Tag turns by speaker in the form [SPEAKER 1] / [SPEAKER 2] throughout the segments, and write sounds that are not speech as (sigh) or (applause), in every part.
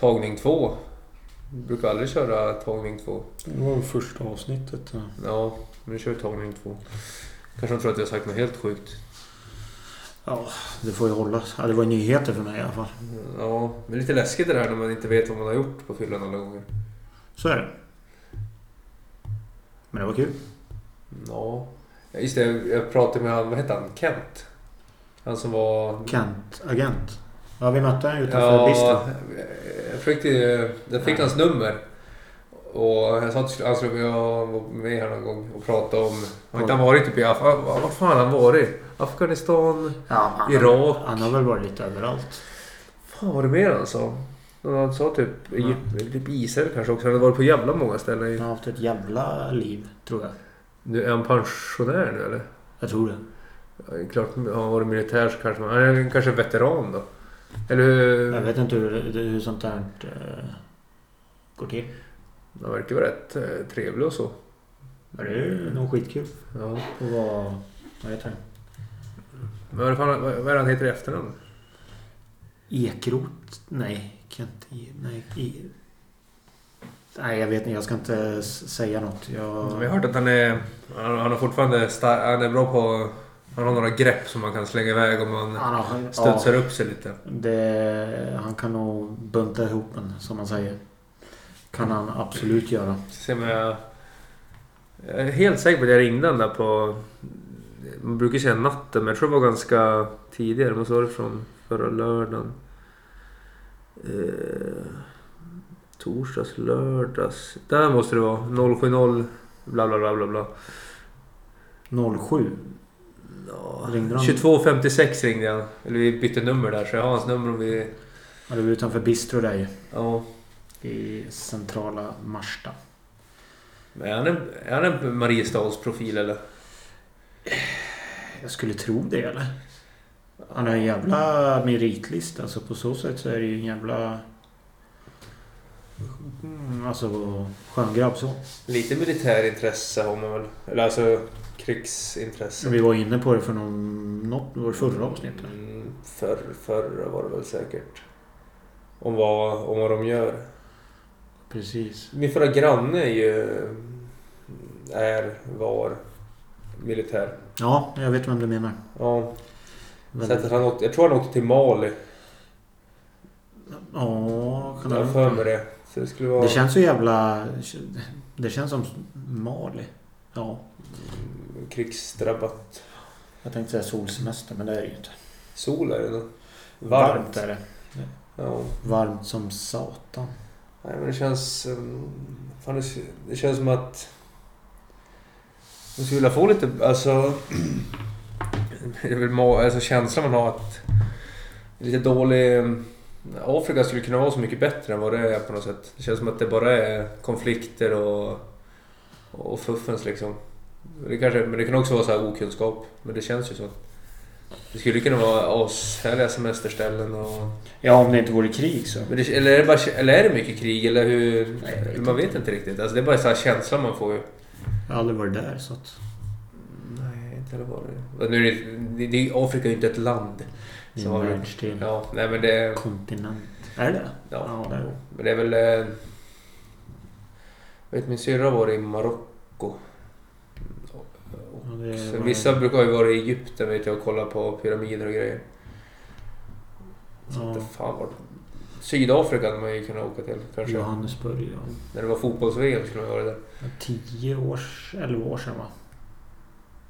[SPEAKER 1] tagning två. Vi brukar aldrig köra tagning två.
[SPEAKER 2] Det var ju första avsnittet. ja.
[SPEAKER 1] Ja, men nu kör vi tagning två. Kanske de tror att jag har sagt något helt sjukt.
[SPEAKER 2] Ja, det får ju hållas. Ja, det var nyheter för mig i alla fall.
[SPEAKER 1] Ja, det är lite läskigt det där när man inte vet vad man har gjort på fyllan alla gånger.
[SPEAKER 2] Så är det. Men det var kul.
[SPEAKER 1] Ja. Just det, jag- jag pratade med han, vad hette han? Kent? Han som var...
[SPEAKER 2] Kent, agent. Ja, vi mötte honom utanför
[SPEAKER 1] Ja,
[SPEAKER 2] bistron.
[SPEAKER 1] jag försökte ju- Jag fick
[SPEAKER 2] Nej.
[SPEAKER 1] hans nummer. Och jag sa att han skulle jag var med här någon gång och prata om... Har inte han varit typ i Af- Vad vad fan har han varit? Afghanistan?
[SPEAKER 2] Ja, han,
[SPEAKER 1] Irak.
[SPEAKER 2] Han har väl varit lite överallt.
[SPEAKER 1] Fan vad det mer han sa? Han sa typ, Egypten, typ Israel kanske också. Han hade varit på jävla många ställen.
[SPEAKER 2] Han har haft ett jävla liv, tror jag.
[SPEAKER 1] Nu är han pensionär nu eller?
[SPEAKER 2] Jag tror det.
[SPEAKER 1] Ja, det är klart, har han varit militär så kanske man... Han är kanske veteran då? Eller
[SPEAKER 2] Jag
[SPEAKER 1] hur?
[SPEAKER 2] vet inte hur, hur sånt där eh, går till.
[SPEAKER 1] Han verkar vara rätt eh, trevlig och så.
[SPEAKER 2] Men det är ju nog skitkul
[SPEAKER 1] Ja.
[SPEAKER 2] att vara... Vad heter det?
[SPEAKER 1] Men vad, fan, vad vad är det han heter i efternamn?
[SPEAKER 2] Ekrot? Nej, Kent... E- Nej, e... Nej, jag vet inte. Jag ska inte s- säga något. Jag...
[SPEAKER 1] Jag har hört att han är... Han, han har fortfarande... star- Han är bra på... Han har några grepp som man kan slänga iväg om man
[SPEAKER 2] Han har-
[SPEAKER 1] studsar upp sig lite.
[SPEAKER 2] Det, han kan nog bunta ihop en, som man säger. Kan han absolut göra.
[SPEAKER 1] Ska se om jag... Jag är helt säker på att jag ringde han där på... Man brukar säga natten, men jag tror det var ganska tidigare. Det måste ha varit från förra lördagen. Eh, torsdags, lördags. Där måste det vara. 070 bla bla bla bla bla.
[SPEAKER 2] 07.
[SPEAKER 1] Ja,
[SPEAKER 2] Ringde han?
[SPEAKER 1] 22.56 ringde jag. Eller vi bytte nummer där, så jag har hans nummer om vi...
[SPEAKER 2] Ja, det var utanför Bistro där ju.
[SPEAKER 1] Ja.
[SPEAKER 2] I centrala Marsta.
[SPEAKER 1] Men Är han en, är han en Mariestadsprofil eller?
[SPEAKER 2] Jag skulle tro det eller? Han har en jävla meritlista. Alltså på så sätt så är det ju en jävla... Mm, Alltså skön grabb så.
[SPEAKER 1] Lite militärintresse har man väl? Eller alltså krigsintresse.
[SPEAKER 2] Vi var inne på det för någon, något, var det förra avsnittet.
[SPEAKER 1] Mm, förr, förr var det väl säkert. Om vad, om vad de gör.
[SPEAKER 2] Precis.
[SPEAKER 1] Min förra granne är ju... Är, var militär.
[SPEAKER 2] Ja, jag vet vem du menar.
[SPEAKER 1] Ja, så att
[SPEAKER 2] Väldigt-
[SPEAKER 1] han åkte, jag tror han åkte till Mali.
[SPEAKER 2] Ja,
[SPEAKER 1] Jag
[SPEAKER 2] kan
[SPEAKER 1] har för mig det. Så det skulle vara...
[SPEAKER 2] Det känns så jävla... Det känns som Mali. Ja,
[SPEAKER 1] mm, Krigsdrabbat.
[SPEAKER 2] jag tänkte säga solsemester men det är det ju inte.
[SPEAKER 1] Sol är det nog. Varmt.
[SPEAKER 2] är det.
[SPEAKER 1] Ja.
[SPEAKER 2] Varmt som satan.
[SPEAKER 1] Nej, men det känns... mm, Fan, det, det känns som att... Man skulle vilja få lite... Alltså... (clears throat) det är väl må, alltså känslan man har att... Lite dålig... mm, Afrika skulle kunna vara så mycket bättre än vad det är på något sätt. Det känns som att det bara är konflikter och... Och fuffens liksom. Det kanske, men det kan också vara så här okunskap. Men det känns ju så. Det skulle kunna vara ashärliga semesterställen och...
[SPEAKER 2] Ja, om det inte vore krig så.
[SPEAKER 1] Men det, eller, är det bara, eller är det mycket krig? Eller hur?
[SPEAKER 2] Nej, jag vet
[SPEAKER 1] man vet inte riktigt. Alltså, det är bara så här känslan man får ju.
[SPEAKER 2] Jag har aldrig varit där så att...
[SPEAKER 1] Nej, inte heller var det. Och Nu är det, det, det, Afrika är ju inte ett land.
[SPEAKER 2] Det är
[SPEAKER 1] Så
[SPEAKER 2] en
[SPEAKER 1] har vi-
[SPEAKER 2] världsdel.
[SPEAKER 1] Ja, nej men det...
[SPEAKER 2] Kontinent. Är det det?
[SPEAKER 1] Ja,
[SPEAKER 2] det är det.
[SPEAKER 1] men det är väl... eh, Jag vet min syrra har varit i Marocko. Och
[SPEAKER 2] Ja, det är-
[SPEAKER 1] sen Vissa brukar ju vara i Egypten vet jag och kolla på pyramider och grejer. Så
[SPEAKER 2] Ja.
[SPEAKER 1] inte fan vart... Sydafrika hade man ju kunnat åka till kanske.
[SPEAKER 2] Johannesburg. Ja.
[SPEAKER 1] När det var fotbolls-VM skulle man vara där.
[SPEAKER 2] Tio års... Elva år sedan va?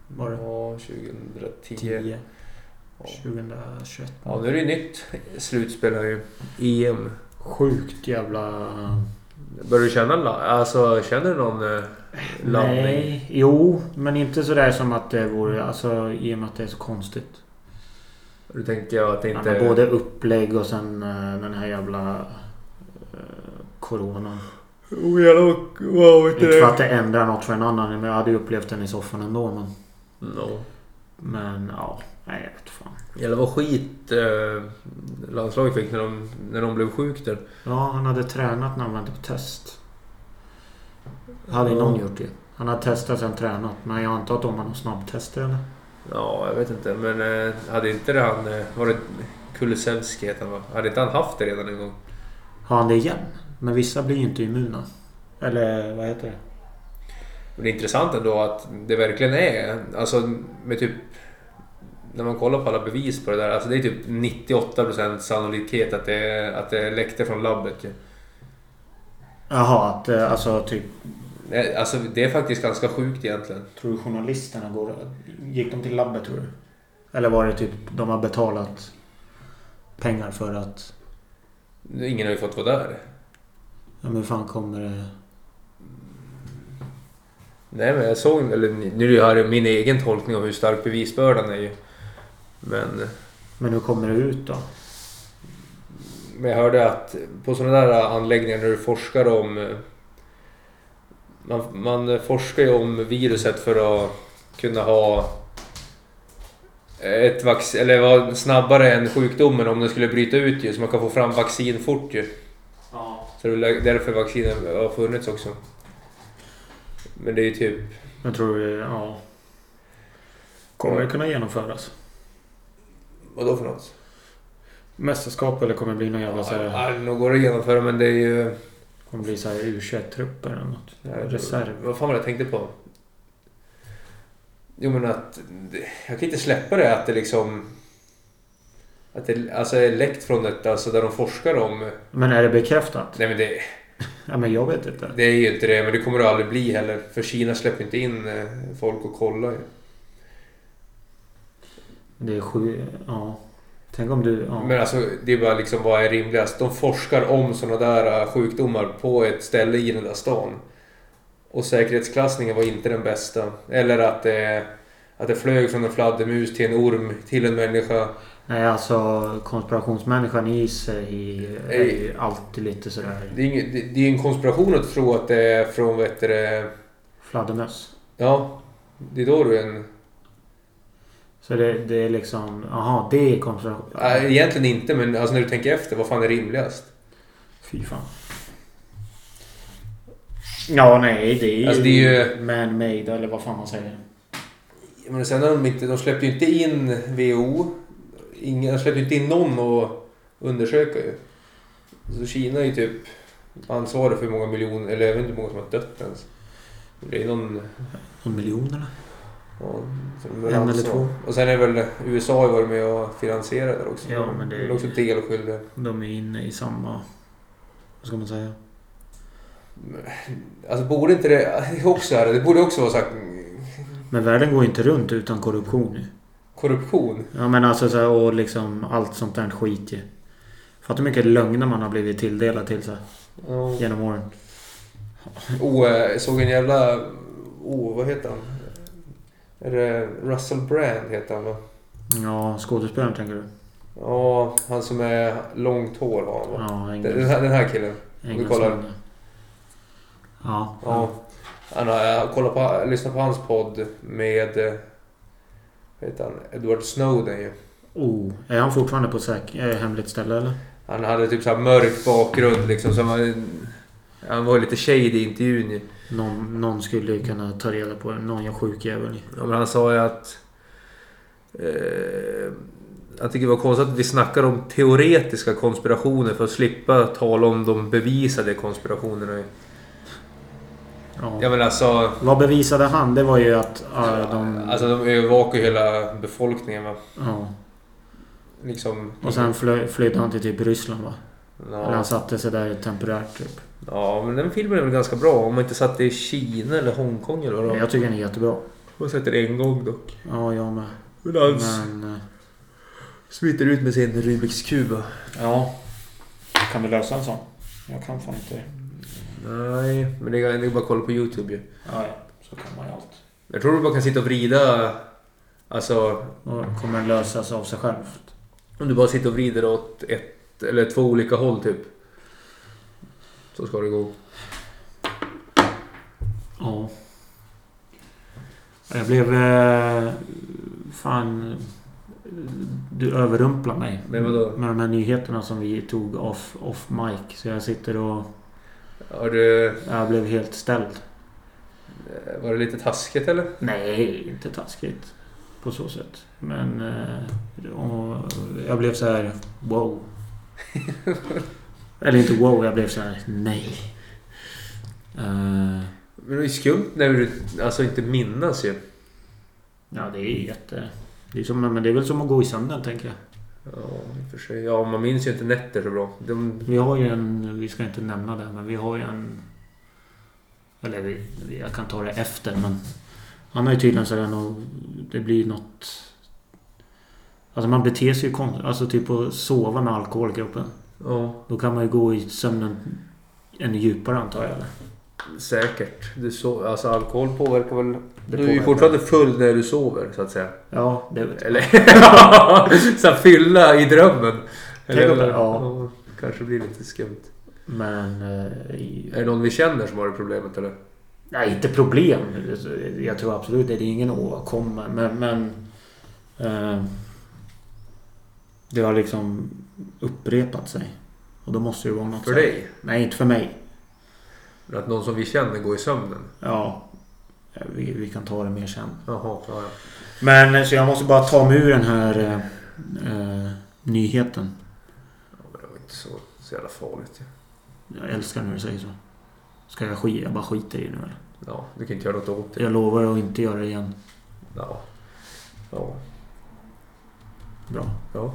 [SPEAKER 2] Var det?
[SPEAKER 1] Ja, 2010.
[SPEAKER 2] Tio.
[SPEAKER 1] Ja.
[SPEAKER 2] 2021.
[SPEAKER 1] Ja, nu är det ju nytt slutspel här ju.
[SPEAKER 2] E
[SPEAKER 1] EM.
[SPEAKER 2] Sjukt jävla...
[SPEAKER 1] Börjar du känna la- alltså, känner du någon eh, laddning?
[SPEAKER 2] Nej, jo, men inte sådär som att det vore... Alltså i och med att det är så konstigt.
[SPEAKER 1] Du tänker jag att det
[SPEAKER 2] Ja,
[SPEAKER 1] inte...
[SPEAKER 2] men både upplägg och sen eh, den här jävla... eh, Coronan.
[SPEAKER 1] Oh, jävlar vad- vad vet
[SPEAKER 2] Inte
[SPEAKER 1] du
[SPEAKER 2] för att det ändrar något för en annan. Men jag hade ju upplevt den i soffan ändå. Men,
[SPEAKER 1] No.
[SPEAKER 2] men ja, nej jag vet fan.
[SPEAKER 1] Jävlar vad skit eh, landslaget fick när de, när de blev sjuk där.
[SPEAKER 2] Ja, han hade tränat när han väntade på test. Hade ju
[SPEAKER 1] Ja.
[SPEAKER 2] någon gjort det. Han hade testat sen tränat. Men jag antar att de har någon snabbtest eller?
[SPEAKER 1] Ja, jag vet inte. Men eh, hade inte det han... eh, Var det Kulusevski heter han va? Hade inte han haft det redan en gång?
[SPEAKER 2] har han det igen. Men vissa blir ju inte immuna. Eller vad heter det?
[SPEAKER 1] Men det är intressant ändå att det verkligen är, alltså med typ, när man kollar på alla bevis på det där, alltså det är typ 98% sannolikhet att det, att det läckte från labbet. ju.
[SPEAKER 2] Jaha, att eh, alltså typ...
[SPEAKER 1] Nej, Alltså det är faktiskt ganska sjukt egentligen.
[SPEAKER 2] Tror du journalisterna går... Gick de till labbet tror du? Eller var det typ de har betalat pengar för att...
[SPEAKER 1] Ingen har ju fått vara där.
[SPEAKER 2] Ja men hur fan kommer det...
[SPEAKER 1] Nej men jag såg, eller nu är det här min egen tolkning av hur stark bevisbördan är ju. Men,
[SPEAKER 2] Men hur kommer det ut då?
[SPEAKER 1] men jag hörde att på sådana där anläggningar när du forskar om... eh, Man, man forskar ju om viruset för att kunna ha ett vaccin, eller vara snabbare än sjukdomen om den skulle bryta ut ju. Så man kan få fram vaccin fort ju.
[SPEAKER 2] Ja.
[SPEAKER 1] Så det är väl därför vaccinen har funnits också. Men det är ju typ...
[SPEAKER 2] Men tror du... Ja. Kommer det kunna genomföras?
[SPEAKER 1] Vadå för något?
[SPEAKER 2] Mästerskap eller kommer det bli någon jävla så här...
[SPEAKER 1] Ja, nog går det att genomföra men det är ju...
[SPEAKER 2] Kommer det bli så här U21-trupper eller något?
[SPEAKER 1] Ja,
[SPEAKER 2] Reserv?
[SPEAKER 1] Vad fan var det jag tänkte på? Jo men att... det- Jag kan inte släppa det att det liksom... Att det alltså, är läckt från ett... Alltså där de forskar om...
[SPEAKER 2] Men är det bekräftat?
[SPEAKER 1] Nej men det,
[SPEAKER 2] Ja men jag vet inte.
[SPEAKER 1] det är ju inte det men det kommer det aldrig bli heller. För Kina släpper inte in eh, folk och kollar ju.
[SPEAKER 2] Det är sju... Ja. Tänk om du... Ja.
[SPEAKER 1] Men alltså det är bara liksom vad är rimligast? De forskar om sådana där eh, sjukdomar på ett ställe i den där stan. Och säkerhetsklassningen var inte den bästa. Eller att det, att det flög från en fladdermus till en orm till en människa.
[SPEAKER 2] Nej alltså konspirationsmänniskan i sig är ju alltid lite sådär
[SPEAKER 1] Det är, ing- det, det är en konspiration att tro att det är från vad heter det,
[SPEAKER 2] fladdermöss.
[SPEAKER 1] Ja, det är då du är en...
[SPEAKER 2] Så det, det är liksom... Aha, det är konspiration.
[SPEAKER 1] Nej, egentligen inte men alltså när du tänker efter, vad fan är rimligast?
[SPEAKER 2] Fy fan. Ja nej det är ju...
[SPEAKER 1] Alltså, det är ju-
[SPEAKER 2] Man-made eller vad fan man säger.
[SPEAKER 1] Men sen har de inte, de släppte ju inte in WHO. Ingen, de släppte ju inte in någon att undersöka ju. Så Kina är ju typ ansvarig för hur många miljoner, eller jag vet inte hur många som har dött ens. Det är någon...
[SPEAKER 2] Någon miljon eller?
[SPEAKER 1] Ja, som
[SPEAKER 2] En eller
[SPEAKER 1] ansvar.
[SPEAKER 2] två.
[SPEAKER 1] Och sen är väl USA har ju varit med och finansierat det också.
[SPEAKER 2] Ja, men det är-
[SPEAKER 1] är också delskyldiga.
[SPEAKER 2] De är inne i samma... Vad ska man säga?
[SPEAKER 1] Alltså borde inte det... Det är också här, det borde också vara sagt
[SPEAKER 2] Men världen går inte runt utan korruption ju.
[SPEAKER 1] korruption.
[SPEAKER 2] Ja men alltså så här, och liksom allt sånt där skit ju. Fattar hur mycket lögner man har blivit tilldelad till så här,
[SPEAKER 1] Ja.
[SPEAKER 2] genom åren.
[SPEAKER 1] Oh, eh, jag såg en jävla... Oh, vad heter han? Är det Russell Brand heter han va?
[SPEAKER 2] Ja, skådespelaren tänker du?
[SPEAKER 1] Ja, han som är långt hår har han va?
[SPEAKER 2] Ja,
[SPEAKER 1] Den, den
[SPEAKER 2] engelsman.
[SPEAKER 1] här, den här killen. vi kollar.
[SPEAKER 2] engelsman, Ja.
[SPEAKER 1] Ja.
[SPEAKER 2] ja.
[SPEAKER 1] Han har, jag kollar på, lyssnar på hans podd med... eh, Vad heter han? Edward Snowden ju.
[SPEAKER 2] Oh, är han fortfarande på säk- eh, hemligt ställe eller?
[SPEAKER 1] Han hade typ så här mörk bakgrund liksom. Så han, var, han var lite shady i intervjun ju.
[SPEAKER 2] Någon, någon skulle ju kunna ta reda på det. Någon är sjuk jävel. ju.
[SPEAKER 1] Ja, men han sa ju att... Eh, jag tycker det var konstigt att vi snackar om teoretiska konspirationer för att slippa tala om de bevisade konspirationerna.
[SPEAKER 2] Ja.
[SPEAKER 1] Ja men alltså...
[SPEAKER 2] Vad bevisade han? Det var ju att ja, de...
[SPEAKER 1] Alltså de övervakar ju hela befolkningen va.
[SPEAKER 2] Ja.
[SPEAKER 1] Liksom...
[SPEAKER 2] Och sen flö, flydde han till typ Ryssland va? Eller han
[SPEAKER 1] Ja,
[SPEAKER 2] satte sig där temporärt typ.
[SPEAKER 1] ja men den filmen är väl ganska bra. Om man inte satt i Kina eller Hongkong eller vad
[SPEAKER 2] Men
[SPEAKER 1] det var.
[SPEAKER 2] jag tycker den är jättebra.
[SPEAKER 1] Jag har sett den en gång dock.
[SPEAKER 2] Ja, jag med.
[SPEAKER 1] Men han
[SPEAKER 2] Men... eh,
[SPEAKER 1] smiter ut med sin Rubiks kub. va?
[SPEAKER 2] Ja. Kan du lösa en sån? Jag kan fan inte det.
[SPEAKER 1] Nej, men det är det är bara att kolla på YouTube ju.
[SPEAKER 2] Ja, ja. Så kan man ju allt.
[SPEAKER 1] Jag tror du bara kan sitta och vrida... Alltså
[SPEAKER 2] Och kommer den lösas av sig självt?
[SPEAKER 1] Om du bara sitter och vrider åt ett eller två olika håll typ. Så ska det gå.
[SPEAKER 2] Ja. Jag blev... Eh, fan... Du överrumplar mig.
[SPEAKER 1] Men vadå?
[SPEAKER 2] Med de här nyheterna som vi tog off, off mic. Så jag sitter och...
[SPEAKER 1] Har du...
[SPEAKER 2] Jag blev helt ställd.
[SPEAKER 1] eh, Var det lite taskigt eller?
[SPEAKER 2] Nej, inte taskigt. På så sätt. Men...
[SPEAKER 1] (laughs)
[SPEAKER 2] Eh, och jag blev så här... Wow. Eller inte wow, jag blev så här nej. Eh,
[SPEAKER 1] Men det är skumt när du alltså inte minnas ju.
[SPEAKER 2] ja, det är jätte... Det är, som, men det är väl som att gå i sömnen, tänker jag.
[SPEAKER 1] Ja, i och för sig. Ja, man minns ju inte nätter så bra. De,
[SPEAKER 2] Vi har ju en... Vi ska inte nämna det, men vi har ju en... Eller vi, vi- jag kan ta det efter, men... Han har ju tydligen sådär nå- Det blir något... Alltså man beter sig ju konstigt. Alltså typ att sova med alkohol i kroppen.
[SPEAKER 1] ja,
[SPEAKER 2] Då kan man ju gå i sömnen ännu djupare antar jag. Eller?
[SPEAKER 1] säkert. Du so- alltså alkohol påverkar väl...
[SPEAKER 2] Det
[SPEAKER 1] du är ju
[SPEAKER 2] påverkar.
[SPEAKER 1] fortfarande full när du sover, så att säga.
[SPEAKER 2] Ja, det vet jag.
[SPEAKER 1] Eller... (laughs) så här, fylla i drömmen.
[SPEAKER 2] Tänk om det- ja.
[SPEAKER 1] Kanske blir lite skumt.
[SPEAKER 2] Men... eh, i-
[SPEAKER 1] Är det någon vi känner som har det problemet eller?
[SPEAKER 2] Nej, inte problem. Jag tror absolut det. Det är ingen åkomma. Men... men eh, det har liksom upprepat sig. Och då måste det ju vara något
[SPEAKER 1] För
[SPEAKER 2] så-
[SPEAKER 1] dig?
[SPEAKER 2] Nej, inte för mig.
[SPEAKER 1] Att någon som vi känner går i sömnen?
[SPEAKER 2] Ja. Vi, vi kan ta det mer sen.
[SPEAKER 1] Jaha, ja, ja.
[SPEAKER 2] Men eh, så jag måste bara ta mig ur den här eh, eh, nyheten.
[SPEAKER 1] ja men det var inte så, så jävla farligt ju.
[SPEAKER 2] Jag älskar när du säger så. Ska jag skita? Jag bara skiter i det nu eller?
[SPEAKER 1] Ja, du kan inte göra något åt det.
[SPEAKER 2] Jag lovar att inte göra det igen.
[SPEAKER 1] Ja. Ja.
[SPEAKER 2] Bra.
[SPEAKER 1] Ja,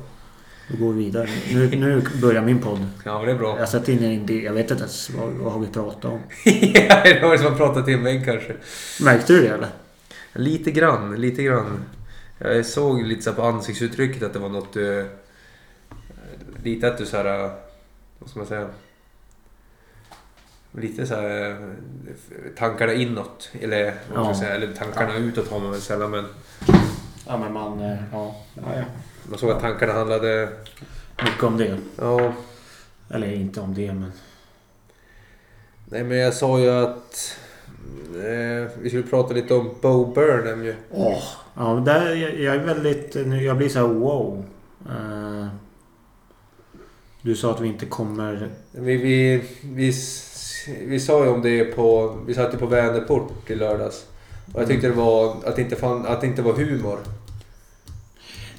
[SPEAKER 2] Då går vi vidare. Nu, nu börjar min podd.
[SPEAKER 1] ja men det är bra.
[SPEAKER 2] Jag satte in en del. Jag vet inte ens vad, vad har vi pratat om.
[SPEAKER 1] (laughs) ja, det var det som att prata till en vägg kanske.
[SPEAKER 2] Märkte du det eller?
[SPEAKER 1] Lite grann, lite grann. Jag såg lite så här på ansiktsuttrycket att det var något... eh, lite att du så här... eh, Vad ska man säga? Lite så här... eh, Tankarna inåt. Eller vad ska man
[SPEAKER 2] Ja.
[SPEAKER 1] säga? Eller tankarna utåt har man väl sällan men...
[SPEAKER 2] Ja men man... eh, Ja. ja, ja.
[SPEAKER 1] Man såg att tankarna handlade...
[SPEAKER 2] Mycket om det.
[SPEAKER 1] Ja,
[SPEAKER 2] Eller inte om det men...
[SPEAKER 1] nej men jag sa ju att... Eh, vi skulle prata lite om Bo Burnham ju.
[SPEAKER 2] Åh! Ja, men där, jag, jag är väldigt... eh, nu- Jag blir så här wow. Eh, du sa att vi inte kommer...
[SPEAKER 1] Vi, vi, vi, s- vi sa ju om det på... Vi satt ju på Vänerport i lördags. Och jag tyckte det var... Att det inte, fan, att det inte var humor.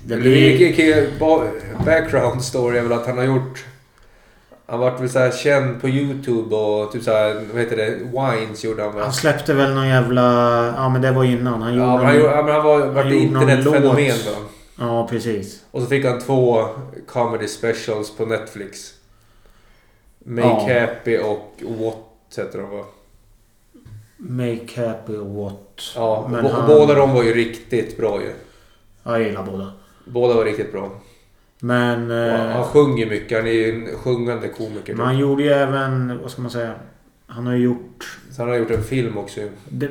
[SPEAKER 2] Det
[SPEAKER 1] Vi
[SPEAKER 2] blir...
[SPEAKER 1] gick- gick- ba- Background story är väl att han har gjort... Han vart väl så här känd på Youtube och typ så här, vad heter det? Wines gjorde han väl?
[SPEAKER 2] Han släppte väl någon jävla... Ja men det var innan. Alltså, Han gjorde...
[SPEAKER 1] Ja, men han, gjorde- ja, men
[SPEAKER 2] någon-
[SPEAKER 1] han var, vart
[SPEAKER 2] han gjorde någon
[SPEAKER 1] internetfenomen
[SPEAKER 2] låt.
[SPEAKER 1] då.
[SPEAKER 2] ja precis.
[SPEAKER 1] Och så fick han två comedy specials på Netflix. Make
[SPEAKER 2] Ja.
[SPEAKER 1] Happy och What heter de va?
[SPEAKER 2] Make happy or what?
[SPEAKER 1] Ja,
[SPEAKER 2] Men
[SPEAKER 1] bo-
[SPEAKER 2] han-
[SPEAKER 1] båda de var ju riktigt bra ju.
[SPEAKER 2] Ja, jag gillar båda.
[SPEAKER 1] Båda var riktigt bra.
[SPEAKER 2] Men...
[SPEAKER 1] Och
[SPEAKER 2] eh,
[SPEAKER 1] han sjunger mycket. Han är ju en sjungande komiker.
[SPEAKER 2] Men han gjorde ju även, vad ska man säga? Han har ju gjort...
[SPEAKER 1] Så han har gjort en film också ju.
[SPEAKER 2] Det,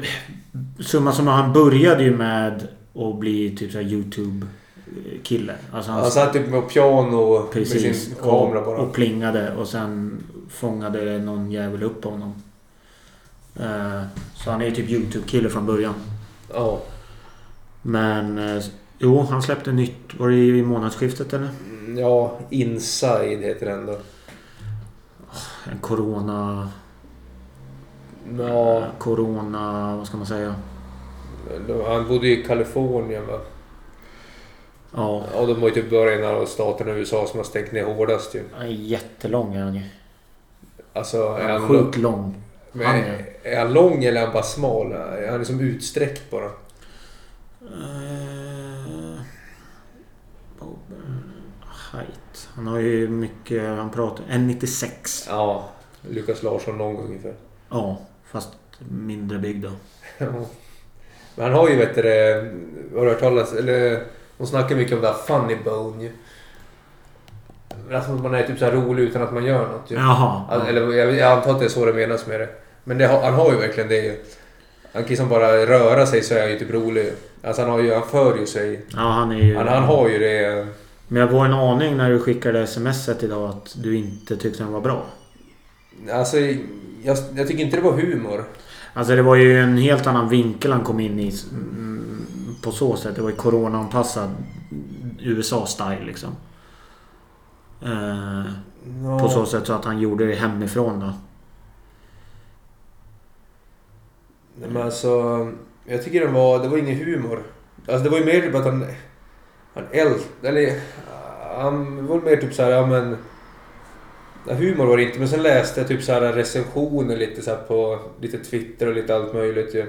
[SPEAKER 2] summa som han började ju med att bli typ såhär YouTube-kille. Alltså han,
[SPEAKER 1] Han satt typ på piano med
[SPEAKER 2] precis,
[SPEAKER 1] sin kamera
[SPEAKER 2] och,
[SPEAKER 1] bara.
[SPEAKER 2] och plingade och sen fångade någon jävel upp honom. Eh, så han är ju typ YouTube-kille från början.
[SPEAKER 1] Ja.
[SPEAKER 2] Men eh, jo, han släppte nytt. Var det i månadsskiftet eller?
[SPEAKER 1] Mm, ja, Inside heter den då.
[SPEAKER 2] En corona... eh,
[SPEAKER 1] Ja,
[SPEAKER 2] Corona... Vad ska man säga? Mm.
[SPEAKER 1] han bodde ju i Kalifornien va?
[SPEAKER 2] Ja.
[SPEAKER 1] Ja, de var ju typ bara en av staterna i USA som har stängt ner hårdast ju.
[SPEAKER 2] Han är jättelång är han ju.
[SPEAKER 1] Alltså, är han,
[SPEAKER 2] Sjukt lång.
[SPEAKER 1] men,
[SPEAKER 2] han
[SPEAKER 1] är. han lång eller är han bara smal? Är han liksom utsträckt bara?
[SPEAKER 2] Eh, Bob Height. Han har ju mycket... Han pratar... 1,96.
[SPEAKER 1] Ja. Lukas Larsson lång ungefär.
[SPEAKER 2] Ja, fast mindre byggd då.
[SPEAKER 1] Ja. Men han har ju vet du det, har du hört talas eller de snackar mycket om det här funny bone ju. Men Alltså man är typ så här rolig utan att man gör något ju.
[SPEAKER 2] Jaha.
[SPEAKER 1] All- Eller jag, jag antar att det är så det menas med det. Men det, har- han har ju verkligen det ju. Han kan liksom bara röra sig så är han ju typ rolig. ju. Alltså han har ju, han för ju sig.
[SPEAKER 2] Ja, han är ju...
[SPEAKER 1] Han, han har ju det.
[SPEAKER 2] Men jag var en aning när du skickade smset idag att du inte tyckte den var bra.
[SPEAKER 1] Alltså jag, jag tycker inte det var humor.
[SPEAKER 2] Alltså det var ju en helt annan vinkel han kom in i. s- mm, På så sätt. Det var ju coronaanpassad USA-style liksom. Eh,
[SPEAKER 1] Ja.
[SPEAKER 2] På så sätt så att han gjorde det hemifrån då.
[SPEAKER 1] Nej, men alltså, jag tycker den var, det var ingen humor. Alltså det var ju mer typ att han... Han ält... Eller... Han var mer typ såhär, ja men... Ja, humor var det inte, men sen läste jag typ så här recensioner lite så här på lite Twitter och lite allt möjligt ju.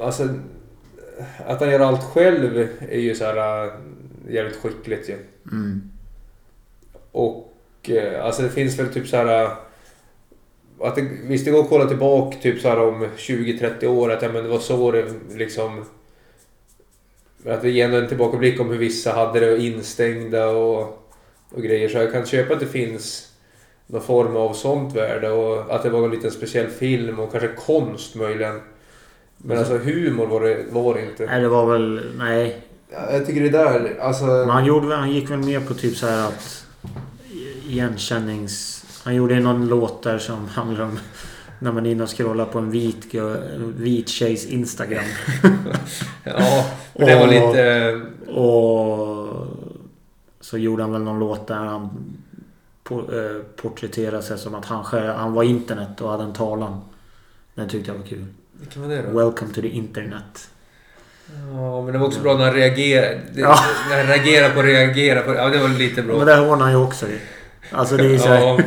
[SPEAKER 1] Alltså, att han gör allt själv är ju så här äh, jävligt skickligt ju.
[SPEAKER 2] Mm.
[SPEAKER 1] Och eh, alltså det finns väl typ så här... eh, Att det, visst, det går att kolla tillbaka typ så här om 20-30 år att ja, men det var så det liksom... Att vi ger ändå en tillbakablick om hur vissa hade det och instängda och, och grejer. Så jag kan köpa att det finns någon form av sånt värde och att det var en liten speciell film och kanske konst möjligen. Men alltså humor var det, var det inte.
[SPEAKER 2] Nej, det var väl... Nej,
[SPEAKER 1] Ja, Jag tycker det där, alltså...
[SPEAKER 2] Men han, gjorde, väl- han gick väl mer på typ så här att... Igenkännings... Han gjorde ju någon låt där som (laughs) handlar om när man är inne och scrollar på en vit, gö- en vit tjejs Instagram.
[SPEAKER 1] Ja, men det var lite... eh,
[SPEAKER 2] Och så gjorde han väl någon låt där han por- eh, porträtterade sig som att han, själv, han var internet och hade en talan. Den tyckte jag var kul.
[SPEAKER 1] Vilken var det då?
[SPEAKER 2] Welcome to the internet.
[SPEAKER 1] Ja, men det var också bra när han reagerade. Det,
[SPEAKER 2] Ja.
[SPEAKER 1] När han reagerade på reagera på... Ja, det var lite bra.
[SPEAKER 2] Men där hånar han ju också ju. Alltså det är ju så här,
[SPEAKER 1] ja,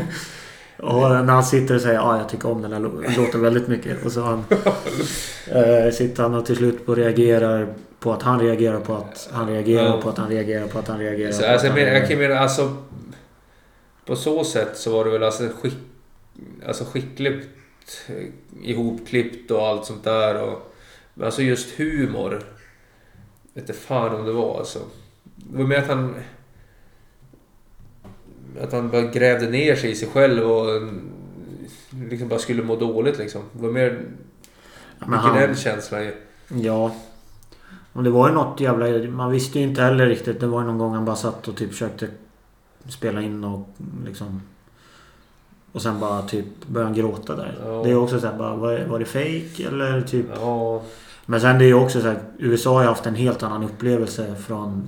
[SPEAKER 2] Och när han sitter och säger ja, jag tycker om den här lå- låten väldigt mycket. Och
[SPEAKER 1] (laughs)
[SPEAKER 2] så han, eh, sitter han och till slut på och reagerar på att han reagerar på att han reagerar
[SPEAKER 1] Ja.
[SPEAKER 2] på att han reagerar på att han reagerar.
[SPEAKER 1] så,
[SPEAKER 2] på att
[SPEAKER 1] alltså, jag
[SPEAKER 2] han
[SPEAKER 1] menar, jag
[SPEAKER 2] reagerar.
[SPEAKER 1] kan mena, alltså... På så sätt så var det väl alltså, skick, alltså skickligt eh, ihopklippt och allt sånt där. Och, men alltså just humor. Vet inte fan om det var alltså. Det var mer att han... Att han bara grävde ner sig i sig själv och eh, liksom bara skulle må dåligt liksom. Det var mer
[SPEAKER 2] Men
[SPEAKER 1] Mycket
[SPEAKER 2] han-
[SPEAKER 1] den känslan ju.
[SPEAKER 2] Ja. Och det var ju något jävla... Man visste ju inte heller riktigt. Det var ju någon gång han bara satt och typ försökte spela in och liksom... Och sen bara typ började han gråta där.
[SPEAKER 1] Ja.
[SPEAKER 2] Det är också såhär bara, var, var det fake eller typ...
[SPEAKER 1] Ja,
[SPEAKER 2] Men sen det är ju också så här, USA har ju haft en helt annan upplevelse från...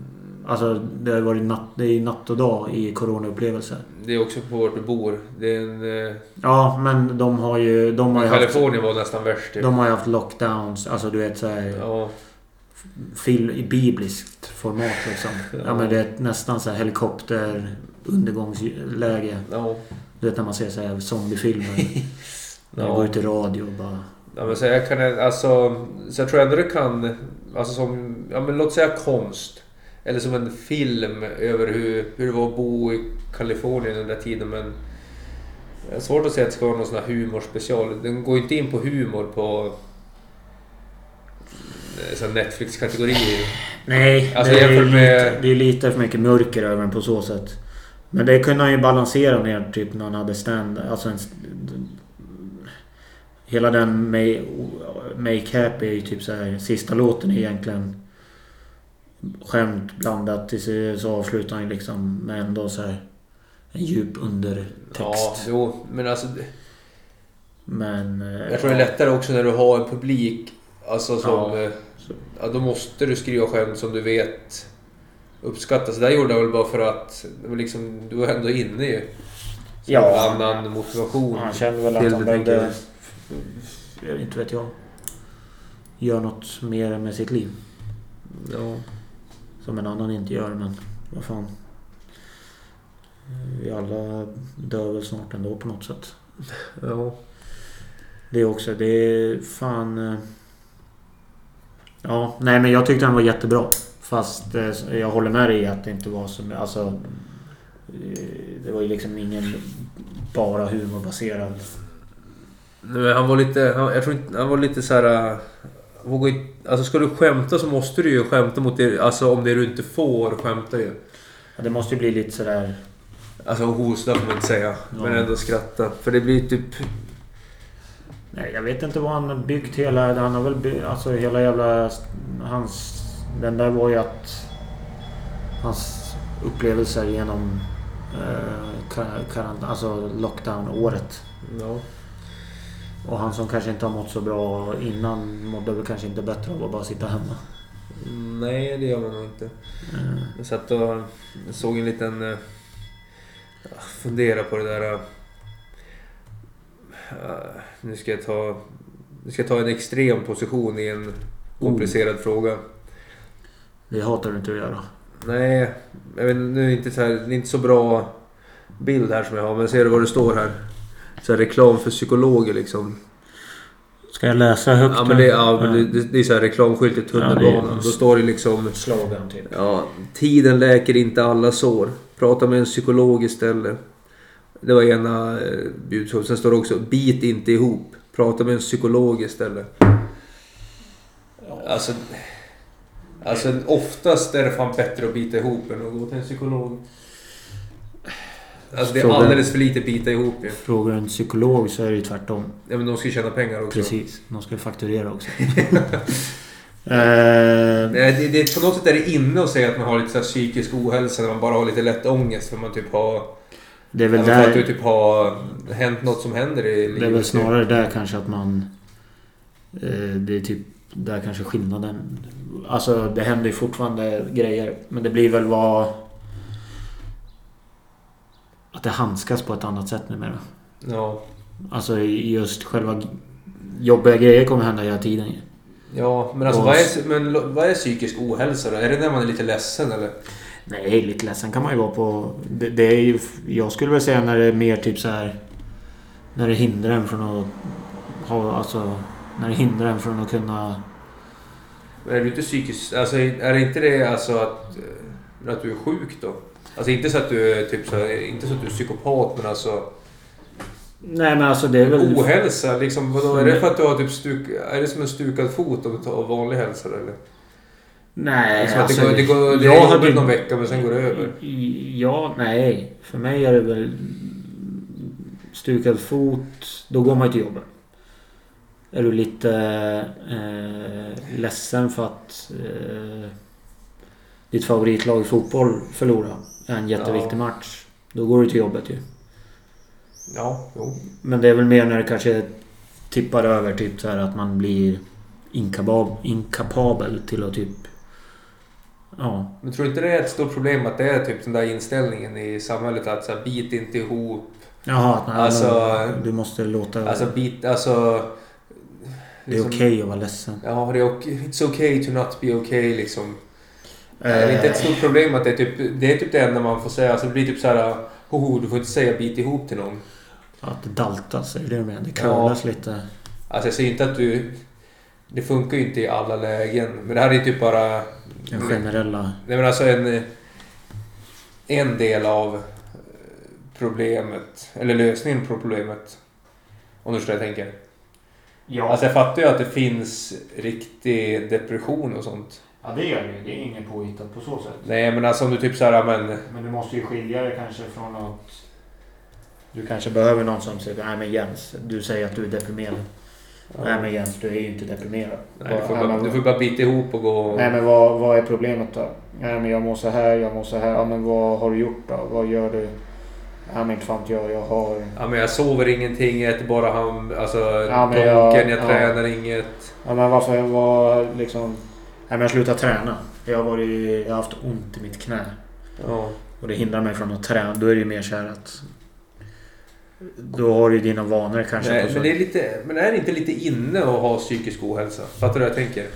[SPEAKER 2] Alltså det har ju varit natt, det är ju natt och dag i coronaupplevelser.
[SPEAKER 1] det är också på vart du bor. Det är en, eh,
[SPEAKER 2] Ja, men de har ju... De har ju haft,
[SPEAKER 1] Kalifornien var nästan värst. Typ.
[SPEAKER 2] de har ju haft lockdowns. Alltså du vet såhär...
[SPEAKER 1] Ja,
[SPEAKER 2] fil, i bibliskt format liksom.
[SPEAKER 1] Ja.
[SPEAKER 2] Ja, men det är nästan så här helikopter undergångsläge.
[SPEAKER 1] ja.
[SPEAKER 2] Du vet när man ser så
[SPEAKER 1] (laughs)
[SPEAKER 2] här zombiefilmer. När det
[SPEAKER 1] Ja.
[SPEAKER 2] går ut i radio och bara...
[SPEAKER 1] ja men så jag kan alltså... Så jag tror ändå det kan... Alltså som... Ja men låt säga konst. Eller som en film över hur, hur det var att bo i Kalifornien den där tiden men... Det är svårt att säga att det ska vara någon sån här humorspecial. Den går ju inte in på humor på... eh, sån här Netflix-kategorier.
[SPEAKER 2] Nej,
[SPEAKER 1] Alltså,
[SPEAKER 2] det, är ju
[SPEAKER 1] jämfört med-
[SPEAKER 2] lite, det är lite för mycket mörker över den på så sätt. Men det kunde han ju balansera ner typ när han hade stand... Alltså en, st- hela den May- Make Happy är ju typ så här, Sista låten är egentligen skämt blandat. Till sig, så avslutar han ju liksom med ändå så här en djup
[SPEAKER 1] Ja,
[SPEAKER 2] undertext.
[SPEAKER 1] jo. Men alltså... det-
[SPEAKER 2] Men... eh,
[SPEAKER 1] Jag tror det är lättare också när du har en publik. Alltså som...
[SPEAKER 2] Ja.
[SPEAKER 1] eh, Ja, då måste du skriva skämt som du vet uppskattas. Det där gjorde jag väl bara för att det var liksom, du var ändå inne ju. Så
[SPEAKER 2] Ja.
[SPEAKER 1] det var en annan motivation.
[SPEAKER 2] Han kände väl att
[SPEAKER 1] Till
[SPEAKER 2] han
[SPEAKER 1] det,
[SPEAKER 2] behövde...
[SPEAKER 1] tänker
[SPEAKER 2] jag vet Inte vet jag. Göra något mer med sitt liv.
[SPEAKER 1] Ja.
[SPEAKER 2] Som en annan inte gör, men vad fan. Vi alla dör väl snart ändå på något sätt.
[SPEAKER 1] ja.
[SPEAKER 2] Det är också, det är fan... eh, Ja, nej men jag tyckte han var jättebra. Fast eh, jag håller med dig i att det inte var som... Alltså... eh, Det var ju liksom ingen bara humorbaserad...
[SPEAKER 1] Nej, men han var lite, han, jag tror inte, han var lite så här... äh, Vågar inte, alltså ska du skämta så måste du ju skämta mot det, alltså om det du inte får skämta ju.
[SPEAKER 2] Ja, Det måste ju bli lite sådär...
[SPEAKER 1] Alltså hosta får man inte säga,
[SPEAKER 2] Ja.
[SPEAKER 1] men ändå skratta. För det blir typ...
[SPEAKER 2] Nej, jag vet inte vad han har byggt hela... Han har väl byggt, alltså hela jävla... Hans... Den där var ju att... Hans upplevelser genom... Eh, kar- karant- alltså lockdown-året.
[SPEAKER 1] Ja.
[SPEAKER 2] Och han som kanske inte har mått så bra innan mådde väl kanske inte bättre av att bara sitta hemma.
[SPEAKER 1] Mm, Nej, det gör man nog inte.
[SPEAKER 2] Eh,
[SPEAKER 1] Jag satt och såg en liten... eh, ah, Fundera på det där... eh, eh, Nu ska jag ta... Nu ska jag ta en extrem position i en komplicerad fråga.
[SPEAKER 2] det hatar du inte att göra.
[SPEAKER 1] Nej, jag vet, nu är det inte så här, det är inte så bra bild här som jag har. Men ser du vad det står här? Så här reklam för psykologer liksom.
[SPEAKER 2] Ska jag läsa högt?
[SPEAKER 1] Ja men det,
[SPEAKER 2] här?
[SPEAKER 1] ja, men det, det är så här reklamskylt i tunnelbanan.
[SPEAKER 2] Ja, det är-
[SPEAKER 1] Då står det liksom...
[SPEAKER 2] Slogan typ.
[SPEAKER 1] Ja, tiden läker inte alla sår. Prata med en psykolog istället. Det var ena eh, budskapet. Sen står det också bit inte ihop. Prata med en psykolog istället. Alltså, alltså oftast är det fan bättre att bita ihop än att gå till en psykolog. Alltså det är
[SPEAKER 2] Frågan-
[SPEAKER 1] alldeles för lite bita ihop ju.
[SPEAKER 2] Frågar du en psykolog så är det ju tvärtom.
[SPEAKER 1] Ja, men de ska ju tjäna pengar också.
[SPEAKER 2] Precis. De ska ju fakturera också. eh,
[SPEAKER 1] Nej, Det, det, på något sätt är det inne att säga att man har lite så här psykisk ohälsa när man bara har lite lätt ångest för man typ har...
[SPEAKER 2] det är
[SPEAKER 1] Väl
[SPEAKER 2] väl
[SPEAKER 1] För att det
[SPEAKER 2] där...
[SPEAKER 1] typ har hänt något som händer i livet.
[SPEAKER 2] Det är väl snarare där kanske att man... Eh, det är typ där kanske skillnaden... Alltså det händer ju fortfarande grejer. Men det blir väl vad... Att det handskas på ett annat sätt numera.
[SPEAKER 1] Ja.
[SPEAKER 2] Alltså i- just själva g- jobbiga grejer kommer hända hela tiden ju.
[SPEAKER 1] Ja, men alltså
[SPEAKER 2] Och-
[SPEAKER 1] vad är, men lo- vad är psykisk ohälsa då? Är det när man är lite ledsen eller?
[SPEAKER 2] Nej, lite ledsen kan man ju vara på... Det, det är ju, jag skulle väl säga när det är mer typ så här... När det hindrar en från att... Ha, alltså, när det hindrar en från att kunna...
[SPEAKER 1] Men är det inte psykisk... Alltså är det inte det alltså att... eh, Att du är sjuk då? Alltså inte så att du är typ så här, inte så att du är psykopat men alltså...
[SPEAKER 2] Nej men alltså det är väl... Mm.
[SPEAKER 1] Ohälsa liksom vadå? Är det för att du har typ stuk... Är det som en stukad fot av- av vanlig hälsa då, eller?
[SPEAKER 2] Nej, alltså,
[SPEAKER 1] Liksom att det går, det går... Det är jobbigt någon vecka men sen går det över.
[SPEAKER 2] Ja, nej. För mig är det väl stukad fot. Då går man ju till jobbet. Är du lite eh, ledsen för att eh, ditt favoritlag i fotboll förlorar en jätteviktig
[SPEAKER 1] Ja.
[SPEAKER 2] match. Då går du till jobbet ju.
[SPEAKER 1] Ja, jo.
[SPEAKER 2] Men det är väl mer när det kanske tippar över typ så här att man blir inkabab, inkapabel till att typ... Ja,
[SPEAKER 1] Men tror du inte det är ett stort problem att det är typ den där inställningen i samhället att så här, bit inte ihop.
[SPEAKER 2] Jaha, att man,
[SPEAKER 1] Alltså-
[SPEAKER 2] du måste låta...
[SPEAKER 1] Alltså bit, alltså...
[SPEAKER 2] det är
[SPEAKER 1] liksom-
[SPEAKER 2] okej att vara ledsen.
[SPEAKER 1] Ja, det är okej. It's okay to not be okay liksom.
[SPEAKER 2] Eh.
[SPEAKER 1] Är det inte ett stort problem att det är typ det, är typ det enda man får säga? Alltså det blir typ så här... Hoho, du får inte säga bit ihop till någon.
[SPEAKER 2] Att det daltas, är det det du menar? Det curlas lite.
[SPEAKER 1] Alltså jag säger inte att du... Det funkar ju inte i alla lägen. Men det här är typ bara...
[SPEAKER 2] Den generella...
[SPEAKER 1] Nej men alltså en... En del av eh, problemet, eller lösningen på problemet. Om du förstår vad jag tänker. Alltså jag fattar ju att det finns riktig depression och sånt.
[SPEAKER 2] ja, det gör det Det är inget påhittat på så sätt.
[SPEAKER 1] Nej men alltså om du typ såhär, men...
[SPEAKER 2] Men du måste ju skilja det kanske från att... Du kanske behöver någon som säger Nej men Jens, du säger att du är deprimerad. Nej men Jens, du är ju inte deprimerad.
[SPEAKER 1] Nej, du, får bara, du får bara bita ihop och gå...
[SPEAKER 2] Nej men vad, vad är problemet då? Nej men jag mår så här, jag mår så här. Ja men vad har du gjort då? Vad gör du? Nej men inte fan jag, jag har...
[SPEAKER 1] Ja, men jag sover ingenting, jag äter bara ham... Alltså
[SPEAKER 2] Ja, men
[SPEAKER 1] donken, jag,
[SPEAKER 2] jag- ja.
[SPEAKER 1] tränar inget.
[SPEAKER 2] Ja, men varför jag var liksom... Nej, men jag slutade träna. Jag har, varit, jag har haft ont i mitt knä.
[SPEAKER 1] Ja.
[SPEAKER 2] Och det hindrar mig från att träna. Då är det ju mer så här att... Då har du ju dina vanor kanske.
[SPEAKER 1] Nej,
[SPEAKER 2] på så-
[SPEAKER 1] men, det är lite, men är det inte lite inne att ha psykisk ohälsa? Fattar du vad jag tänker?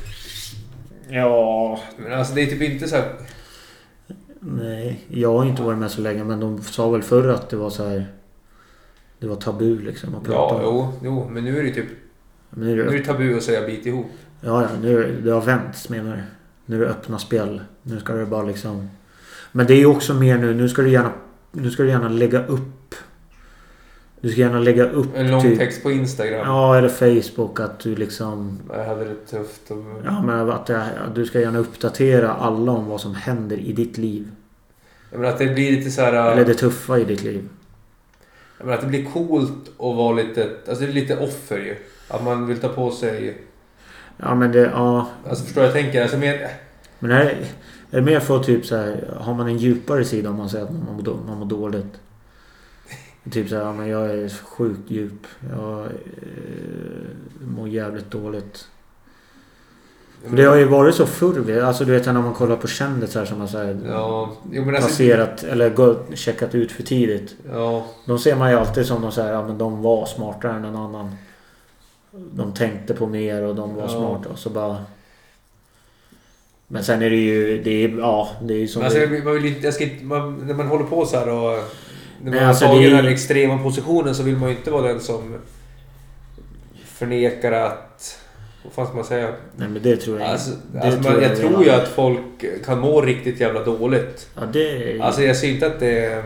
[SPEAKER 2] Ja...
[SPEAKER 1] Men alltså det är typ inte så här...
[SPEAKER 2] Nej, jag har inte varit med så länge. Men de sa väl förr att det var så här... Det var tabu liksom att prata
[SPEAKER 1] Ja,
[SPEAKER 2] om.
[SPEAKER 1] jo, jo, men nu är det typ...
[SPEAKER 2] Men nu är
[SPEAKER 1] Nu är
[SPEAKER 2] det,
[SPEAKER 1] det tabu att säga bit ihop.
[SPEAKER 2] ja, ja, nu är det, det har vänts menar du. Nu är det öppna spel. Nu ska det bara liksom... Men det är ju också mer nu. Nu ska du gärna, nu ska du gärna lägga upp... Du ska gärna lägga upp
[SPEAKER 1] En lång
[SPEAKER 2] typ-
[SPEAKER 1] text på Instagram.
[SPEAKER 2] Ja, eller Facebook att du liksom...
[SPEAKER 1] Jag hade det tufft. Och...
[SPEAKER 2] Ja, men att det, du ska gärna uppdatera alla om vad som händer i ditt liv.
[SPEAKER 1] Jag menar att det blir lite så här...
[SPEAKER 2] Eller det tuffa i ditt liv.
[SPEAKER 1] Jag menar att det blir coolt att vara lite... Alltså det är lite offer ju. Att man vill ta på sig...
[SPEAKER 2] Ja, men det... Ja.
[SPEAKER 1] Alltså förstår du vad jag tänker? Alltså men...
[SPEAKER 2] Men är, är det mer för typ så här... Har man en djupare sida om man säger att man mår, då- man mår dåligt? Typ så här, ja, men jag är sjukt djup. Jag eh, mår jävligt dåligt. För det har ju varit så förr. Alltså du vet när man kollar på kändisar som har så här,
[SPEAKER 1] Ja, jo men alltså...
[SPEAKER 2] passerat eller gått, checkat ut för tidigt.
[SPEAKER 1] Ja,
[SPEAKER 2] De ser man ju alltid som de säger, ja men de var smartare än en annan. De tänkte på mer och de var
[SPEAKER 1] Ja.
[SPEAKER 2] smarta och så bara... Men sen är det ju, det är, ja, det är ju som...
[SPEAKER 1] men alltså
[SPEAKER 2] det,
[SPEAKER 1] jag vill- man vill inte... Jag ska inte man, när man håller på så här och... När man
[SPEAKER 2] Nej,
[SPEAKER 1] har
[SPEAKER 2] alltså,
[SPEAKER 1] tagit
[SPEAKER 2] det är-
[SPEAKER 1] den här extrema positionen så vill man ju inte vara den som förnekar att... Vad fan ska man säga?
[SPEAKER 2] Nej men det tror jag inte.
[SPEAKER 1] Alltså,
[SPEAKER 2] det
[SPEAKER 1] alltså,
[SPEAKER 2] tror
[SPEAKER 1] man, jag
[SPEAKER 2] jag
[SPEAKER 1] tror
[SPEAKER 2] redan.
[SPEAKER 1] ju att folk kan må riktigt jävla dåligt.
[SPEAKER 2] Ja, det är...
[SPEAKER 1] Alltså jag ser inte att det är...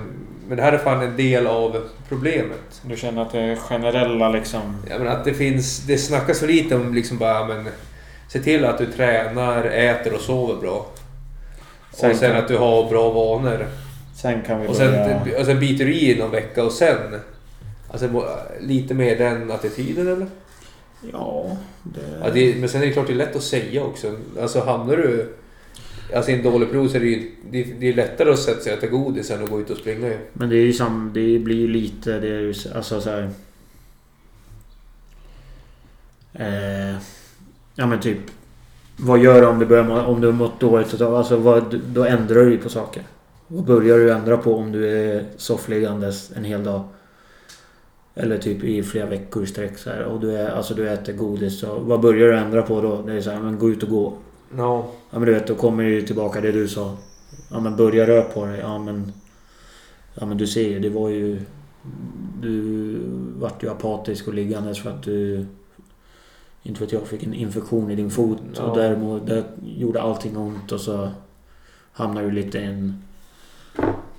[SPEAKER 1] Men det här är fan en del av problemet.
[SPEAKER 3] Du känner att det är generella liksom...
[SPEAKER 1] Jag menar att det finns... Det snackas för lite om liksom bara, ja, men... Se till att du tränar, äter och sover bra.
[SPEAKER 3] Sen
[SPEAKER 1] och sen
[SPEAKER 3] kan-
[SPEAKER 1] att du har bra vanor.
[SPEAKER 3] Sen kan vi
[SPEAKER 1] Och sen,
[SPEAKER 3] börja...
[SPEAKER 1] och sen biter du i någon vecka och sen... Alltså må- lite mer den attityden eller?
[SPEAKER 2] Ja, det...
[SPEAKER 1] Ja, det, men sen är det klart det är lätt att säga också. Alltså hamnar du alltså, i en dålig period så är det ju det, det är lättare att sätta sig och äta godis än att gå ut och springa ju.
[SPEAKER 2] Men det är ju som... Det blir ju lite... Det är ju så- alltså så här... Eh, ja men typ... Vad gör du om du börjar må, om du har mått dåligt? ett tag? Alltså vad, då ändrar du ju på saker. Vad börjar du ändra på om du är soffliggandes en hel dag? Eller typ i flera veckor i sträck så här. Och du, är, alltså, du äter godis. Så vad börjar du ändra på då? Det är så här, men gå ut och gå.
[SPEAKER 1] Ja.
[SPEAKER 2] Ja men du vet, då kommer ju tillbaka det du sa. Ja men börja röra på dig. Ja men... Ja men du ser ju, det var ju... Du vart ju apatisk och liggandes för att du... Inte vet jag, fick en infektion i din fot
[SPEAKER 1] Ja.
[SPEAKER 2] och där, må- där gjorde allting ont och så hamnar du lite i en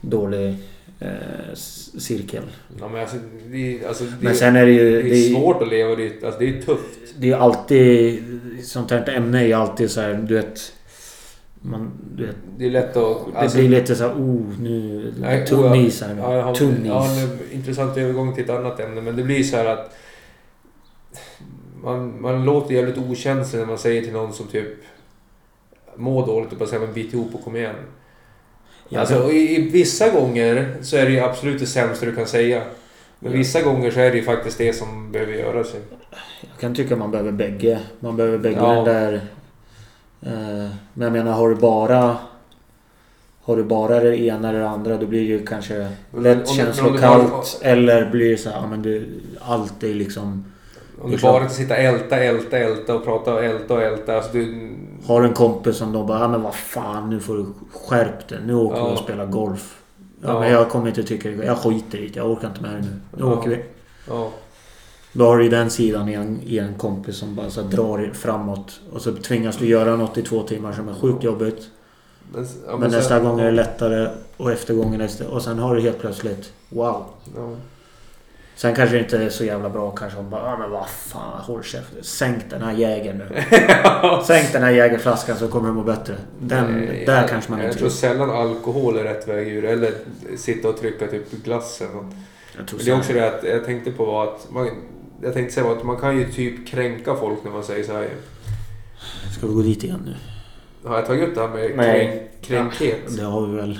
[SPEAKER 2] dålig eh, s- cirkel.
[SPEAKER 1] ja men alltså, det, alltså, det,
[SPEAKER 2] Men sen är det ju...
[SPEAKER 1] det är svårt att leva. Det, är- alltså, det är tufft.
[SPEAKER 2] det är ju alltid... Sånt här ämne är ju alltid så här, du vet... Man, du vet
[SPEAKER 1] Det är lätt att...
[SPEAKER 2] Det
[SPEAKER 1] alltså-
[SPEAKER 2] blir lite såhär, oh nu...
[SPEAKER 1] Nej,
[SPEAKER 2] tunn
[SPEAKER 1] och jag-
[SPEAKER 2] is här nu.
[SPEAKER 1] Ja, jag har,
[SPEAKER 2] tunn is.
[SPEAKER 1] ja, en intressant övergång till ett annat ämne, men det blir så här att... Man, man låter jävligt okänslig när man säger till någon som typ mår dåligt och bara säger men bit ihop och kom igen.
[SPEAKER 2] Ja,
[SPEAKER 1] alltså,
[SPEAKER 2] men-
[SPEAKER 1] och i, i vissa gånger så är det ju absolut det sämsta du kan säga. Men
[SPEAKER 2] Ja.
[SPEAKER 1] vissa gånger så är det ju faktiskt det som behöver göras. ju.
[SPEAKER 2] Jag kan tycka man behöver bägge. Man behöver bägge
[SPEAKER 1] Ja.
[SPEAKER 2] den där... Eh, men jag menar, har du bara... Har du bara det ena eller det andra, då blir det ju kanske
[SPEAKER 1] Men om
[SPEAKER 2] lätt
[SPEAKER 1] du-
[SPEAKER 2] känslokallt.
[SPEAKER 1] om du
[SPEAKER 2] Eller blir det såhär, ja men du... Allt är liksom...
[SPEAKER 1] Om
[SPEAKER 2] Det
[SPEAKER 1] du
[SPEAKER 2] är klart.
[SPEAKER 1] bara kan sitta älta, älta, älta och prata och älta och älta. Alltså, du,
[SPEAKER 2] Har du en kompis som då bara, ja men vad fan nu får du skärp dig. Nu åker vi
[SPEAKER 1] Ja.
[SPEAKER 2] och spelar golf. Ja,
[SPEAKER 1] Ja.
[SPEAKER 2] men jag kommer inte tycka det. Jag skiter i det. Jag orkar inte med det nu. Nu
[SPEAKER 1] Ja.
[SPEAKER 2] åker vi.
[SPEAKER 1] ja.
[SPEAKER 2] Då har du ju den sidan i en, i en kompis som bara så här drar framåt. Och så tvingas du göra något i två timmar som är sjukt jobbigt.
[SPEAKER 1] Men, ja,
[SPEAKER 2] men
[SPEAKER 1] sen-
[SPEAKER 2] nästa gång är det lättare och efter gången nästa. Och sen har du helt plötsligt wow.
[SPEAKER 1] Ja. (laughs)
[SPEAKER 2] Sen kanske det inte är så jävla bra kanske om bara ah, men vad fan håll käften. Sänk den här
[SPEAKER 1] (laughs)
[SPEAKER 2] jägern nu. Sänk den här jägerflaskan så kommer du må bättre. Den,
[SPEAKER 1] Nej,
[SPEAKER 2] där
[SPEAKER 1] jag,
[SPEAKER 2] kanske man
[SPEAKER 1] Jag
[SPEAKER 2] inte...
[SPEAKER 1] tror sällan alkohol är rätt väg ur. Eller sitta och trycka typ glass eller något.
[SPEAKER 2] jag tror
[SPEAKER 1] Men det är
[SPEAKER 2] så
[SPEAKER 1] också
[SPEAKER 2] här.
[SPEAKER 1] det att jag tänkte på var att man, jag tänkte säga var att man kan ju typ kränka folk när man säger så här. ju.
[SPEAKER 2] Ska vi gå dit igen nu?
[SPEAKER 1] Har jag tagit upp det här med
[SPEAKER 3] Nej.
[SPEAKER 1] kränk, kränkhet?
[SPEAKER 2] Det har vi väl.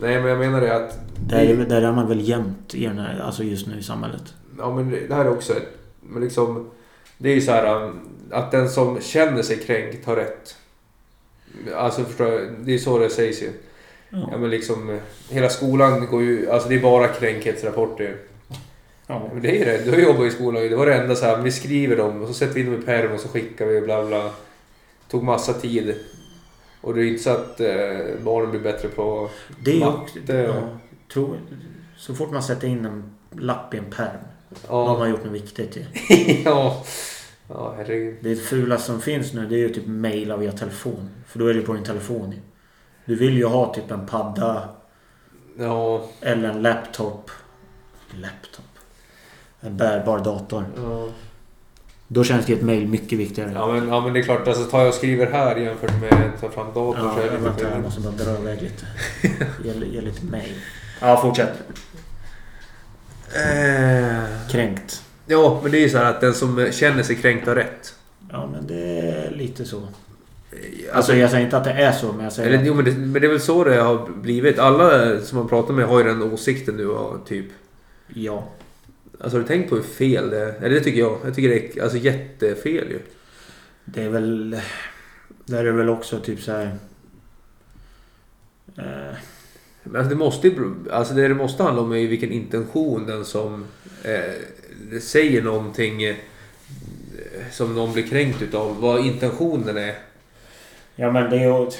[SPEAKER 1] Nej, men jag menar det att...
[SPEAKER 2] Där, är- där är man väl jämt i den här, alltså just nu i samhället.
[SPEAKER 1] Ja, men det här är också ett... Men liksom, det är ju så här um, att den som känner sig kränkt har rätt. Alltså förstår jag, det är så det sägs ju. Ja, men liksom, hela skolan går ju... Alltså det är bara kränkhetsrapporter.
[SPEAKER 3] Ja.
[SPEAKER 1] Men det är ju det. Du har jobbat i skolan. Det var det enda så här, vi skriver dem och så sätter vi in dem i pärm och så skickar vi bla bla. Tog massa tid. Och det är inte så att eh, barnen blir bättre på...
[SPEAKER 2] Det är ju
[SPEAKER 1] Matte
[SPEAKER 2] också,
[SPEAKER 1] och-
[SPEAKER 2] ja, tror, Så fort man sätter in en lapp i en pärm. Då har
[SPEAKER 1] Ja,
[SPEAKER 2] man gjort något viktigt ju.
[SPEAKER 1] (laughs) ja. ja herregud.
[SPEAKER 2] Det fula som finns nu det är ju typ mejla via telefon. För då är det på din telefon ju. Du vill ju ha typ en padda
[SPEAKER 1] Ja,
[SPEAKER 2] eller en laptop. Laptop? En bärbar dator.
[SPEAKER 1] ja.
[SPEAKER 2] Då känns ju ett mejl mycket viktigare.
[SPEAKER 1] Ja, men, ja men det är klart, alltså tar jag och skriver här jämfört med att ta fram datorn så
[SPEAKER 2] Ja,
[SPEAKER 1] är det lite
[SPEAKER 2] vänta, jag
[SPEAKER 1] skillnad.
[SPEAKER 2] måste bara dra iväg (laughs) lite. Ge, ge lite mejl. Ja, fortsätt.
[SPEAKER 1] Eh,
[SPEAKER 2] Kränkt.
[SPEAKER 1] Ja, men det är ju så här att den som känner sig kränkt har rätt.
[SPEAKER 2] Ja, men det är lite så.
[SPEAKER 1] Alltså,
[SPEAKER 2] Alltså jag säger inte att det är så, men jag säger...
[SPEAKER 1] Eller, jo, men, det, men det är väl så det har blivit. Alla som man pratar med har ju den åsikten nu, ja, typ.
[SPEAKER 2] Ja.
[SPEAKER 1] Alltså har du tänkt på hur fel det är? Eller det tycker jag. Jag tycker det är alltså, jättefel ju.
[SPEAKER 2] Det är väl... Där är det väl också typ så här... Eh,
[SPEAKER 1] Men alltså, det, måste, ju- alltså, det det måste handla om är ju vilken intention den som eh, säger någonting eh, som någon blir kränkt utav. Vad intentionen är.
[SPEAKER 2] ja men det är ju...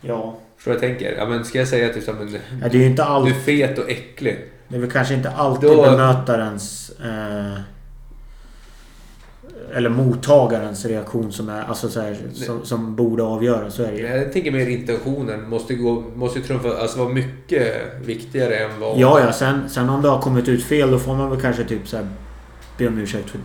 [SPEAKER 2] Ja.
[SPEAKER 1] Förstår du vad jag tänker? Ja, men ska jag säga typ så här, men
[SPEAKER 2] Ja, det är ju inte
[SPEAKER 1] du är
[SPEAKER 2] alltid...
[SPEAKER 1] fet och äcklig.
[SPEAKER 2] Det är väl kanske inte alltid
[SPEAKER 1] Då-
[SPEAKER 2] bemötarens... Eh, eller mottagarens reaktion som är... Alltså så här, som, som borde avgöra. Så är det ju.
[SPEAKER 1] Jag tänker mer intentionen måste gå, måste ju trumfa, alltså vara mycket viktigare än vad...
[SPEAKER 2] Ja, ja. Sen, sen om det har kommit ut fel, då får man väl kanske typ så här be om ursäkt. För,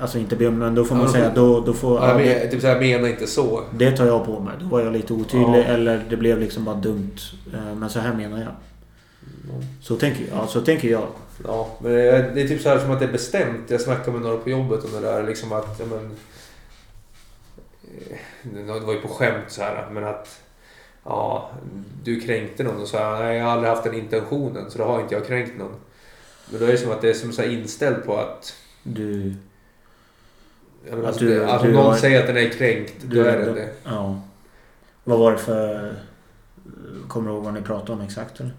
[SPEAKER 2] alltså inte be om, men då får
[SPEAKER 1] Ja,
[SPEAKER 2] man
[SPEAKER 1] då
[SPEAKER 2] säga
[SPEAKER 1] får-
[SPEAKER 2] då, då får...
[SPEAKER 1] Ja,
[SPEAKER 2] Ja,
[SPEAKER 1] men,
[SPEAKER 2] det,
[SPEAKER 1] jag- typ så här, mena inte så.
[SPEAKER 2] det tar jag på mig. Då var jag lite otydlig
[SPEAKER 1] Ja.
[SPEAKER 2] eller det blev liksom bara dumt. Eh, Men så här menar jag.
[SPEAKER 1] Ja.
[SPEAKER 2] Så tänker, ja, så tänker jag.
[SPEAKER 1] Ja, men det är, det är typ så här som att det är bestämt. Jag snackade med några på jobbet om det där. Liksom att, ja, men, eh, det var ju på skämt så här, men att ja, du kränkte någon och så här, nej, jag har aldrig haft den intentionen så då har inte jag kränkt någon. Men då är det som att det är som så här inställt på att,
[SPEAKER 2] Du...
[SPEAKER 1] jag menar,
[SPEAKER 2] Att
[SPEAKER 1] att,
[SPEAKER 2] du-
[SPEAKER 1] det, att
[SPEAKER 2] du
[SPEAKER 1] om någon
[SPEAKER 2] har-
[SPEAKER 1] säger att den är kränkt,
[SPEAKER 2] du
[SPEAKER 1] då är den det.
[SPEAKER 2] Ja. Vad var det för... Kommer du ihåg vad ni pratade om exakt? Eller?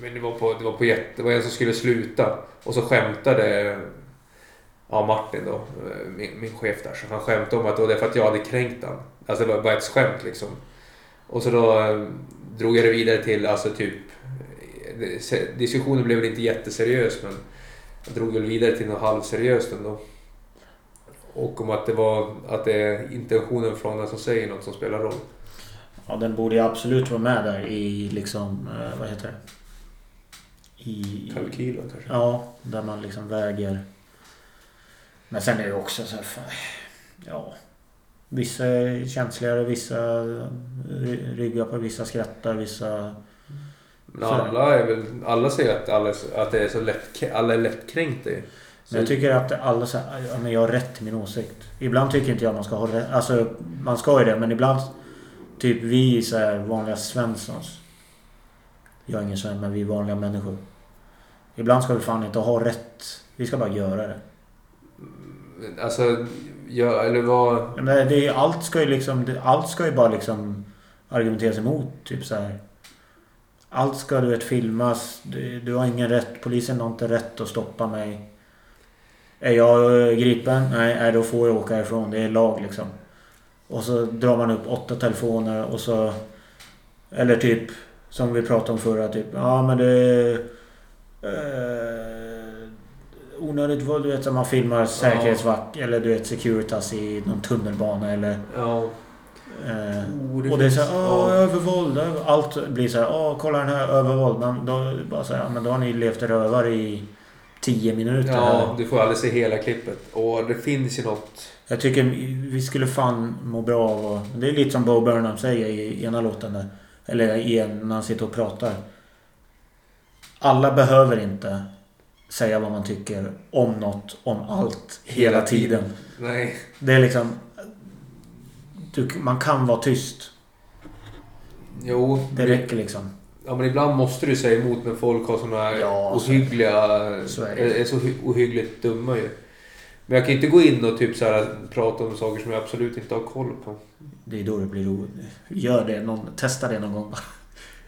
[SPEAKER 1] Men det var på, det var på jätte, det var en som skulle sluta och så skämtade ja, Martin då, eh, min, min chef där, så han skämtade om att det var därför att jag hade kränkt han. Alltså det var bara ett skämt liksom. Och så då eh, drog jag det vidare till, alltså typ, eh, det- se- diskussionen blev väl inte jätteseriös men jag drog väl vidare till något halvseriöst ändå. Och om att det var att det är intentionen från den som säger något som spelar roll.
[SPEAKER 2] Ja, den borde ju absolut vara med där i liksom... eh, Vad heter det? I...
[SPEAKER 1] Kalkylen kanske.
[SPEAKER 2] Ja, där man liksom väger. Men sen är det också så här, fan, ja. Vissa är känsligare, vissa ry- ryggar på, vissa skrattar, vissa...
[SPEAKER 1] Men alla, är väl, alla säger att, alla, är så- att det är så lätt, alla är lättkränkta ju. Så
[SPEAKER 2] Men jag tycker att alla så här, ja, men jag har rätt till min åsikt. Ibland tycker inte jag man ska ha rätt. Alltså, man ska ju det, men ibland... Typ vi så här vanliga svenssons. Jag är ingen svensk, men vi är vanliga människor. Ibland ska vi fan inte ha rätt. Vi ska bara göra det.
[SPEAKER 1] Alltså, jag, eller vad...
[SPEAKER 2] Men det är, ju- allt ska ju liksom... det- Allt ska ju bara liksom argumenteras emot. Typ så här. Allt ska du vet filmas. Du, du har ingen rätt. Polisen har inte rätt att stoppa mig. Är jag eh, gripen? Nej, nej, då får jag åka härifrån. Det är lag liksom. Och så drar man upp åtta telefoner och så... Eller typ som vi pratade om förra. Typ, ja men det... är, Eh, onödigt våld. Du vet att man filmar säkerhetsvakt eller du vet Securitas i någon tunnelbana eller...
[SPEAKER 1] Ja.
[SPEAKER 2] Eh,
[SPEAKER 1] Oh,
[SPEAKER 2] och det är
[SPEAKER 1] finns-
[SPEAKER 2] såhär, åh,
[SPEAKER 1] ja.
[SPEAKER 2] övervåld. över-" Allt blir såhär, åh, kolla den här, övervåld. Men då, bara så här, "Ja, men då har ni levt rövare i tio minuter.
[SPEAKER 1] ja,
[SPEAKER 2] här."
[SPEAKER 1] du får aldrig se hela klippet. Och det finns ju något...
[SPEAKER 2] Jag tycker vi skulle fan må bra av och, Det är lite som Bo Burnham säger i ena låten där. Eller i en, när han sitter och pratar. Alla behöver inte säga vad man tycker om något, om allt, hela
[SPEAKER 1] Hela tiden.
[SPEAKER 2] tiden.
[SPEAKER 1] Nej.
[SPEAKER 2] Det är liksom... Du, man kan vara tyst.
[SPEAKER 1] Jo.
[SPEAKER 2] Det räcker liksom.
[SPEAKER 1] Ja, men ibland måste du säga emot när folk har såna här
[SPEAKER 2] Ja, så-
[SPEAKER 1] ohyggliga...
[SPEAKER 2] så är
[SPEAKER 1] är,
[SPEAKER 2] det.
[SPEAKER 1] så hy- ohyggligt dumma ju. Men jag kan inte gå in och typ så här, prata om saker som jag absolut inte har koll på.
[SPEAKER 2] Det är då det blir roligt. Gör det. Någon, testa det någon gång.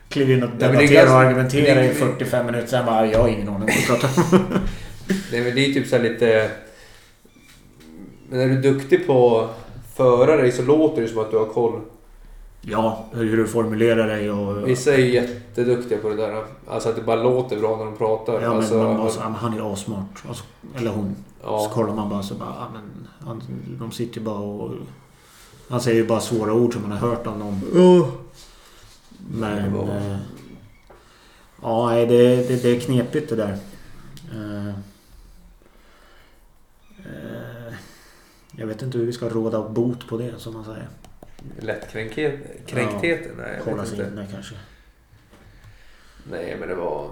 [SPEAKER 2] Kliv in och
[SPEAKER 1] men det är
[SPEAKER 2] debattera och
[SPEAKER 1] ganska-
[SPEAKER 2] argumentera
[SPEAKER 1] det är-
[SPEAKER 2] i 45 minuter. Sen bara, jag har ingen aning vad du pratar
[SPEAKER 1] (laughs)
[SPEAKER 2] om.
[SPEAKER 1] Nej men det är typ så här lite... Men är du duktig på att föra dig så låter det som att du har koll.
[SPEAKER 2] Ja, hur du formulerar dig och...
[SPEAKER 1] Vissa är ju jätteduktiga på det där. Alltså att det bara låter bra när de pratar.
[SPEAKER 2] Ja, men
[SPEAKER 1] alltså,
[SPEAKER 2] man bara, så, "Ah, men han är assmart. Alltså, eller hon. Så
[SPEAKER 1] ja.
[SPEAKER 2] kollar man bara så bara, "Ah, men han, de sitter ju bara och... Han säger ju bara svåra ord som man har hört av någon. Men...
[SPEAKER 1] Ja.
[SPEAKER 2] eh, Ja, nej, det, det, det är knepigt det där. Eh, eh, Jag vet inte hur vi ska råda bot på det som man säger.
[SPEAKER 1] Lättkränkhet? Kränktheten? Nej, jag
[SPEAKER 2] Kolla
[SPEAKER 1] vet
[SPEAKER 2] sig
[SPEAKER 1] inte.
[SPEAKER 2] inne kanske.
[SPEAKER 1] Nej, men det var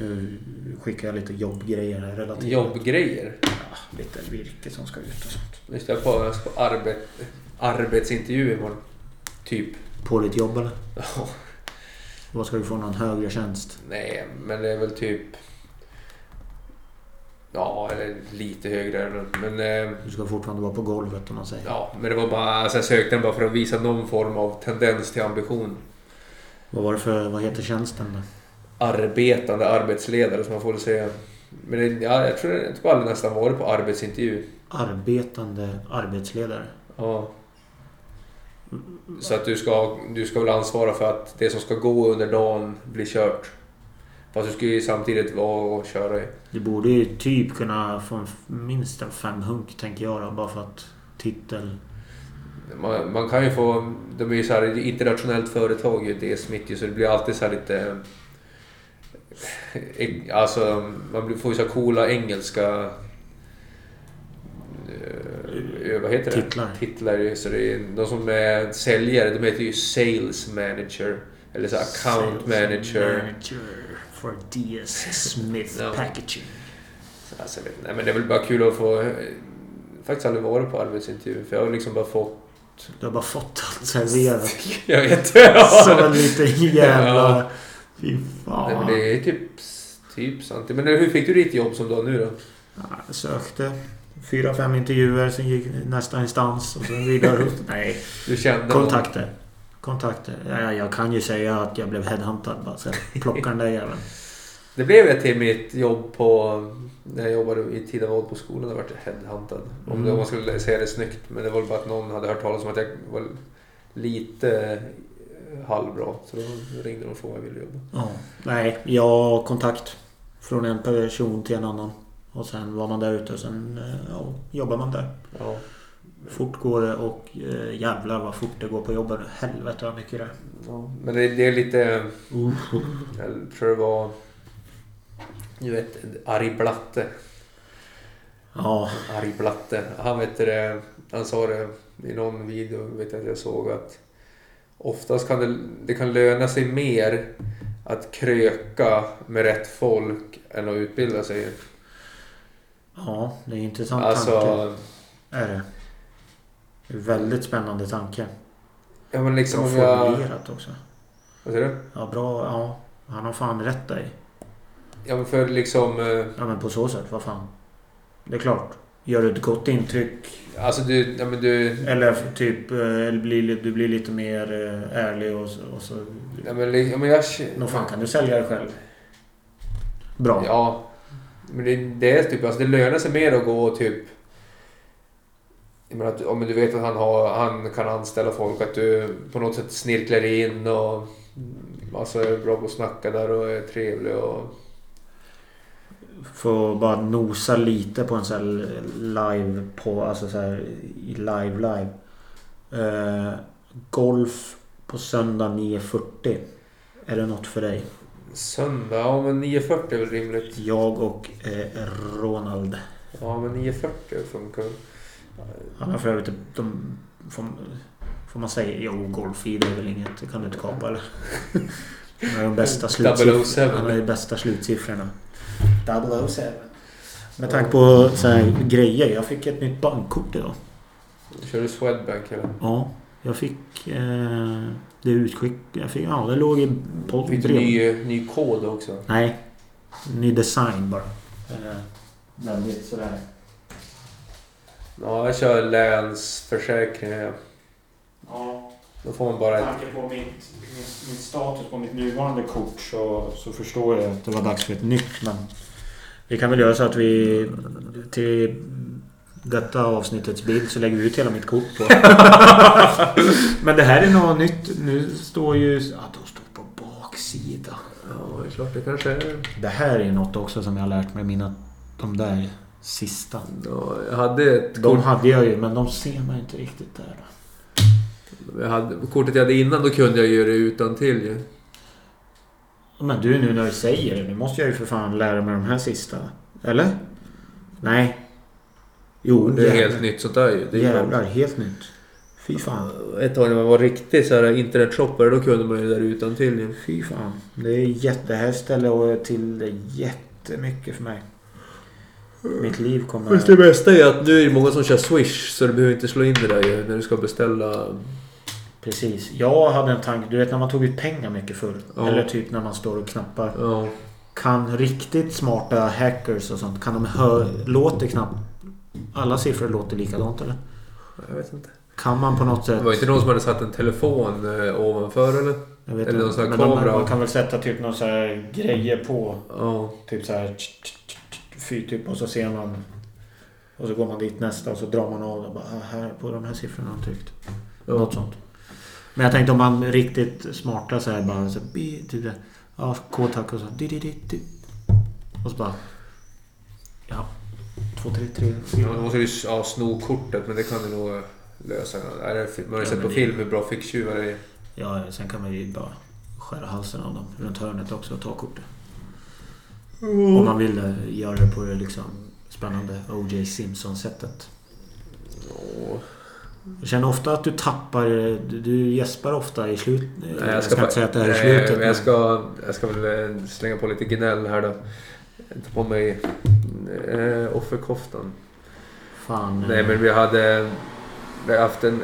[SPEAKER 2] Nu skickar jag lite jobbgrejer här relativt.
[SPEAKER 1] jobbgrejer.
[SPEAKER 2] Ja, lite virke som ska ut och sånt.
[SPEAKER 1] Lyssnar på, jag ska på arbet, arbetsintervju imorgon. Typ.
[SPEAKER 2] På ditt jobb eller? Vad ska du få någon högre tjänst?
[SPEAKER 1] Nej, men det är väl typ... Ja, eller lite högre. Men... Eh,
[SPEAKER 2] Du ska fortfarande vara på golvet om man säger.
[SPEAKER 1] Ja, men det var bara, alltså jag sökte den bara för att visa någon form av tendens till ambition.
[SPEAKER 2] Vad var det för... Vad heter tjänsten då?
[SPEAKER 1] Arbetande arbetsledare som man får väl säga. Men det, ja, jag tror jag tror aldrig nästan varit på arbetsintervju.
[SPEAKER 2] Arbetande arbetsledare.
[SPEAKER 1] Ja. Så att du ska, du ska väl ansvara för att det som ska gå under dagen blir kört. Fast du ska ju samtidigt vara och köra i.
[SPEAKER 2] Du borde ju typ kunna få en, minst en femhunk, tänker jag då, bara för att titel...
[SPEAKER 1] Man, man kan ju få... De är ju så här ett internationellt företag ju, det är Smith ju, så det blir alltid så här lite... eh, Alltså, man blir- får ju så här coola engelska... eh, Vad heter det?
[SPEAKER 2] Titlar.
[SPEAKER 1] Titlar. ju, Så det är, de som är säljare, de heter ju Sales Manager. Eller så här Account
[SPEAKER 2] Sales
[SPEAKER 1] Manager.
[SPEAKER 2] Manager for DS Smith
[SPEAKER 1] Ja.
[SPEAKER 2] Packaging.
[SPEAKER 1] Alltså, jag vet, inte. nej, men det är väl bara kul att få... eh, Faktiskt aldrig varit på arbetsintervju, för jag har liksom bara fått... (laughs)
[SPEAKER 2] Du har bara fått allt serverat.
[SPEAKER 1] Jag vet inte.
[SPEAKER 2] Som en liten jävla... Fy
[SPEAKER 1] Nej, men
[SPEAKER 2] fan.
[SPEAKER 1] det är typ, typ sant. Men hur fick du ditt jobb som du har nu då?
[SPEAKER 2] Ja, Jag sökte. Fyra, fem intervjuer, sen gick nästa instans och sen vidare upp. Nej.
[SPEAKER 1] Du kände någon-
[SPEAKER 2] Kontakter. Kontakter. Ja, jag kan ju säga att jag blev headhuntad bara. Så jag plockade den där jäveln.
[SPEAKER 1] Det blev ett till mitt jobb på... När jag jobbade i Tidaholm på skolan och vart jag headhuntad. Om
[SPEAKER 2] Mm.
[SPEAKER 1] det- om man skulle säga det snyggt. Men det var väl bara att någon hade hört talas om att jag var lite eh, halvbra. Så då ringde de och frågade om jag ville jobba.
[SPEAKER 2] Ja. Nej, jag har kontakt. Från en person till en annan. Och sen var man där ute och sen eh, ja, jobbar man där.
[SPEAKER 1] Ja.
[SPEAKER 2] Fort går det och eh, jävlar vad fort det går på jobbet. Helvete vad mycket det är.
[SPEAKER 1] ja. Men det, det är lite... Jag tror det var... Du vet, Ari Blatte.
[SPEAKER 2] Ja.
[SPEAKER 1] arg blatte. Han, vet det, han sa det i någon video vet jag, att jag såg att oftast kan det, det kan löna sig mer att kröka med rätt folk än att utbilda sig.
[SPEAKER 2] Ja, det är en intressant tanke.
[SPEAKER 1] Alltså,
[SPEAKER 2] Är det. Det är en Väldigt spännande tanke.
[SPEAKER 1] ja, men liksom
[SPEAKER 2] Bra
[SPEAKER 1] om jag...
[SPEAKER 2] formulerat också.
[SPEAKER 1] Vad säger du?
[SPEAKER 2] Ja, bra. Ja. Han har fan rätt dig.
[SPEAKER 1] Ja, men för liksom... eh,
[SPEAKER 2] Ja, men på så sätt. Vad fan. Det är klart. Gör du ett gott intryck
[SPEAKER 1] Alltså du... Ja, men du
[SPEAKER 2] eller typ eh, eller blir, li- du blir lite mer eh, ärlig och så... Och så.
[SPEAKER 1] ja, men, li- ja, men jag...
[SPEAKER 2] Nog fan kan du sälja dig själv. Bra.
[SPEAKER 1] Ja. Men det, det är typ, alltså det lönar sig mer att gå och typ... Jag menar, att, om du vet att han, har, han kan anställa folk, att du på något sätt snirklar in och... Alltså är bra på att snacka där och är trevlig och...
[SPEAKER 2] Får bara nosa lite på en sån här live på, alltså så här i live live. Eh, golf på söndag 9.40. Är det något för dig?
[SPEAKER 1] Söndag? Ja men 9.40 är väl rimligt.
[SPEAKER 2] Jag och eh, Ronald.
[SPEAKER 1] Ja men 9.40 funkar väl.
[SPEAKER 2] Han har för övrigt de, får, får man säga... Jo, golf-id är väl inget. Det kan du inte
[SPEAKER 1] (laughs)
[SPEAKER 2] kapa eller? Han har de
[SPEAKER 1] 007.
[SPEAKER 2] bästa slutsiffrorna. Han har de bästa slutsiffrorna. 007. Med tanke på så här, grejer. Jag fick ett nytt bankkort idag.
[SPEAKER 1] Kör du Swedbank eller?
[SPEAKER 2] Ja, jag fick eh, det utskick... Jag fick, ja, det låg i post-
[SPEAKER 1] Fick du
[SPEAKER 2] brev.
[SPEAKER 1] ny, ny kod också?
[SPEAKER 2] Nej. Ny design bara. Eh, väldigt sådär...
[SPEAKER 1] Ja jag kör länsförsäkringar.
[SPEAKER 3] Ja,
[SPEAKER 1] Då får man bara
[SPEAKER 3] med
[SPEAKER 1] ett...
[SPEAKER 3] tanke på mitt, min, min status på mitt nuvarande kort så, så förstår jag att det var dags för ett nytt.
[SPEAKER 2] Men vi kan väl göra så att vi till detta avsnittets bild så lägger vi ut hela mitt kort (laughs) på. Men det här är något nytt. Nu står ju... Ja, de står på baksida.
[SPEAKER 1] Ja det är klart det kanske är...
[SPEAKER 2] Det här är något också som jag har lärt mig. Mina... De där sista.
[SPEAKER 1] Ja, jag hade ett
[SPEAKER 2] De hade jag ju, men de ser man ju inte riktigt där.
[SPEAKER 1] Jag hade, kortet jag hade innan, då kunde jag göra det utan till ju.
[SPEAKER 2] Men du, nu när du säger det. Nu måste jag ju för fan lära mig de här sista. Eller? Nej. Jo,
[SPEAKER 1] Det är
[SPEAKER 2] jävlar.
[SPEAKER 1] helt nytt sånt där ju. Det är
[SPEAKER 2] Jävlar, helt nytt. Fy fan.
[SPEAKER 1] Ett tag när man var riktig så här internetshoppare, då kunde man ju det där utan till ju.
[SPEAKER 2] Fy fan. Det är jätte... Det här ställer jag till det jättemycket för mig. Mitt liv
[SPEAKER 1] Fast det
[SPEAKER 2] kommer...
[SPEAKER 1] bästa är att nu är det många som kör Swish, så du behöver inte slå in det där ju när du ska beställa.
[SPEAKER 2] Precis. Jag hade en tanke. Du vet när man tog ut pengar mycket förr.
[SPEAKER 1] Ja.
[SPEAKER 2] Eller typ när man står och knappar.
[SPEAKER 1] Ja.
[SPEAKER 2] Kan riktigt smarta hackers och sånt. Kan de höra... Låter knappt... Alla siffror låter likadant eller?
[SPEAKER 1] Jag vet inte.
[SPEAKER 2] Kan man på något
[SPEAKER 1] Det
[SPEAKER 2] sätt...
[SPEAKER 1] var inte någon som hade satt en telefon eh, ovanför eller?
[SPEAKER 2] Jag vet
[SPEAKER 1] eller
[SPEAKER 2] inte.
[SPEAKER 1] någon sån här
[SPEAKER 2] Men de-
[SPEAKER 1] kamera.
[SPEAKER 2] Man kan väl sätta typ någon så här grejer på.
[SPEAKER 1] Ja.
[SPEAKER 2] Typ så här... tsch, tsch, tsch, tsch, Fy typ och så ser man... Och så går man dit nästa och så drar man av och bara "Ah, här på de här siffrorna har de tryckt.
[SPEAKER 1] Ja.
[SPEAKER 2] Något sånt. Men jag tänkte om man riktigt smarta så här bara så här, bi- typ det. Ja, K-tack och så. Di, di, di, di. Och så bara... Ja. Två, tre, tre,
[SPEAKER 1] Ja,
[SPEAKER 2] fyra.
[SPEAKER 1] då måste du ju ja, sno kortet, men det kan du nog eh, lösa. Är det, man har ju
[SPEAKER 2] Ja,
[SPEAKER 1] sett på
[SPEAKER 2] men det-
[SPEAKER 1] film hur bra ficktjuvar är.
[SPEAKER 2] Ja, sen kan man ju bara skära halsen av dem runt hörnet också och ta kortet. Om man vill eh, göra det på det liksom spännande O.J. Simpson-sättet.
[SPEAKER 1] Ja.
[SPEAKER 2] Jag känner ofta att du tappar... eh, du- Du gäspar ofta i slutet.
[SPEAKER 1] Nej,
[SPEAKER 2] jag, ska
[SPEAKER 1] bara-
[SPEAKER 2] inte säga att det här är
[SPEAKER 1] nej,
[SPEAKER 2] slutet.
[SPEAKER 1] men jag,
[SPEAKER 2] men-
[SPEAKER 1] ska, jag ska väl eh, slänga på lite gnäll här då. Ta på mig eh, offerkoftan.
[SPEAKER 2] Fan. eh,
[SPEAKER 1] Nej men vi hade... Vi har haft en...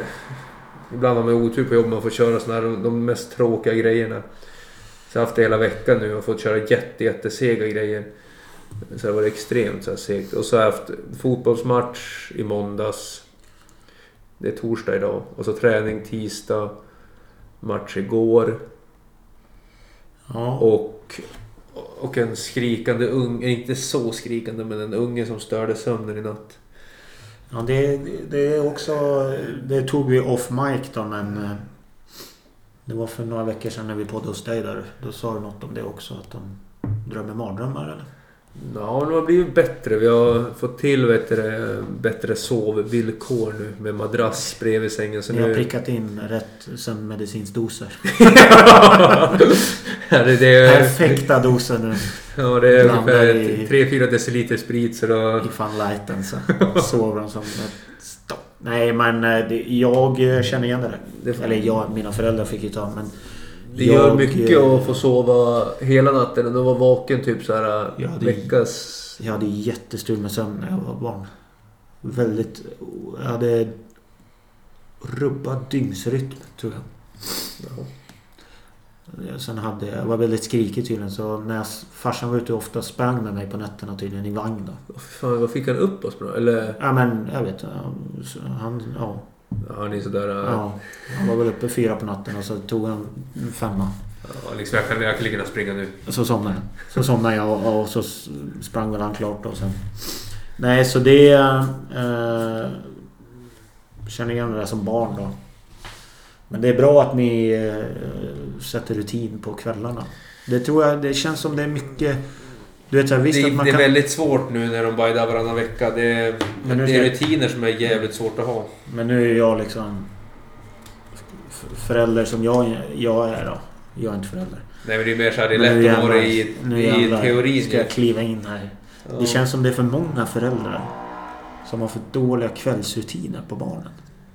[SPEAKER 1] Ibland har man ju otur på jobbet. Man får köra såna här de mest tråkiga grejerna. Så jag har haft det hela veckan nu och fått köra jätte, jättesega grejer. Så det var extremt så här segt. Och så har jag haft fotbollsmatch i måndags. Det är torsdag idag. Och så träning tisdag. Match igår.
[SPEAKER 2] Ja.
[SPEAKER 1] Och, och en skrikande unge, eh, inte så skrikande, men en unge som störde sömnen i natt.
[SPEAKER 2] Ja, det, det är också... Det tog vi off mic då, men... eh, Det var för några veckor sedan när vi poddade hos dig där. Då sa du något om det också, att de drömmer mardrömmar eller?
[SPEAKER 1] Ja, men det har blivit bättre. Vi har fått till bättre, bättre sovvillkor nu med madrass bredvid sängen. Så
[SPEAKER 2] Ni har
[SPEAKER 1] nu...
[SPEAKER 2] prickat in rätt sömnmedicinsdoser.
[SPEAKER 1] (laughs) ja, det, det är,
[SPEAKER 2] (laughs) Perfekta doser nu
[SPEAKER 1] Ja, det är
[SPEAKER 2] Blandar
[SPEAKER 1] ungefär
[SPEAKER 2] i-
[SPEAKER 1] 3-4 deciliter sprit så då...
[SPEAKER 2] i fan
[SPEAKER 1] (laughs)
[SPEAKER 2] lighten så sover de som ett stopp. Nej men eh, det, jag eh, känner igen det där.
[SPEAKER 1] Det-
[SPEAKER 2] Eller jag, mina föräldrar fick ju ta men...
[SPEAKER 1] Det gör
[SPEAKER 2] jag,
[SPEAKER 1] mycket
[SPEAKER 2] eh,
[SPEAKER 1] att få sova hela natten och då vara vaken typ så här
[SPEAKER 2] Ja, det-
[SPEAKER 1] veckas...
[SPEAKER 2] Jag hade jättestrul med sömn när jag var barn. Väldigt... Jag hade rubbad dygnsrytm, tror jag.
[SPEAKER 1] Ja.
[SPEAKER 2] Sen hade jag... jag var väldigt skrikig tydligen, så när jag, farsan var ute och ofta sprang med mig på nätterna tydligen i vagn då.
[SPEAKER 1] Åh, fy Fan, vad fick han upp oss med då? Eller...
[SPEAKER 2] Ja men, jag vet. han- Han... Ja.
[SPEAKER 1] Ja, han är sådär... äh,
[SPEAKER 2] ja. Han var väl uppe fyra på natten och så tog han en femma.
[SPEAKER 1] Ja, liksom, jag, kan, jag kan lika gärna springa nu.
[SPEAKER 2] Så somnade jag. Så somnade jag och, och så s- sprang väl han klart då sen. Nej, så det... Eh, känner igen det där som barn då. Men det är bra att ni eh, sätter rutin på kvällarna. Det tror jag... Det känns som det är mycket... Du vet så här, visst
[SPEAKER 1] det,
[SPEAKER 2] att man
[SPEAKER 1] det är
[SPEAKER 2] kan...
[SPEAKER 1] väldigt svårt nu när de bara är där varannan vecka. Det är,
[SPEAKER 2] Men nu
[SPEAKER 1] det är
[SPEAKER 2] ska-
[SPEAKER 1] rutiner som är jävligt svårt att ha.
[SPEAKER 2] Men nu är jag liksom... f- Förälder som jag, jag är då. Jag är inte förälder.
[SPEAKER 1] Nej men det är mer såhär, det är
[SPEAKER 2] Men nu
[SPEAKER 1] lätt att vara
[SPEAKER 2] jävlar-
[SPEAKER 1] i,
[SPEAKER 2] nu
[SPEAKER 1] i
[SPEAKER 2] jävlar
[SPEAKER 1] teorin.
[SPEAKER 2] Ska jag kliva in här?
[SPEAKER 1] Ja.
[SPEAKER 2] Det känns som det är för många föräldrar som har för dåliga kvällsrutiner på barnen.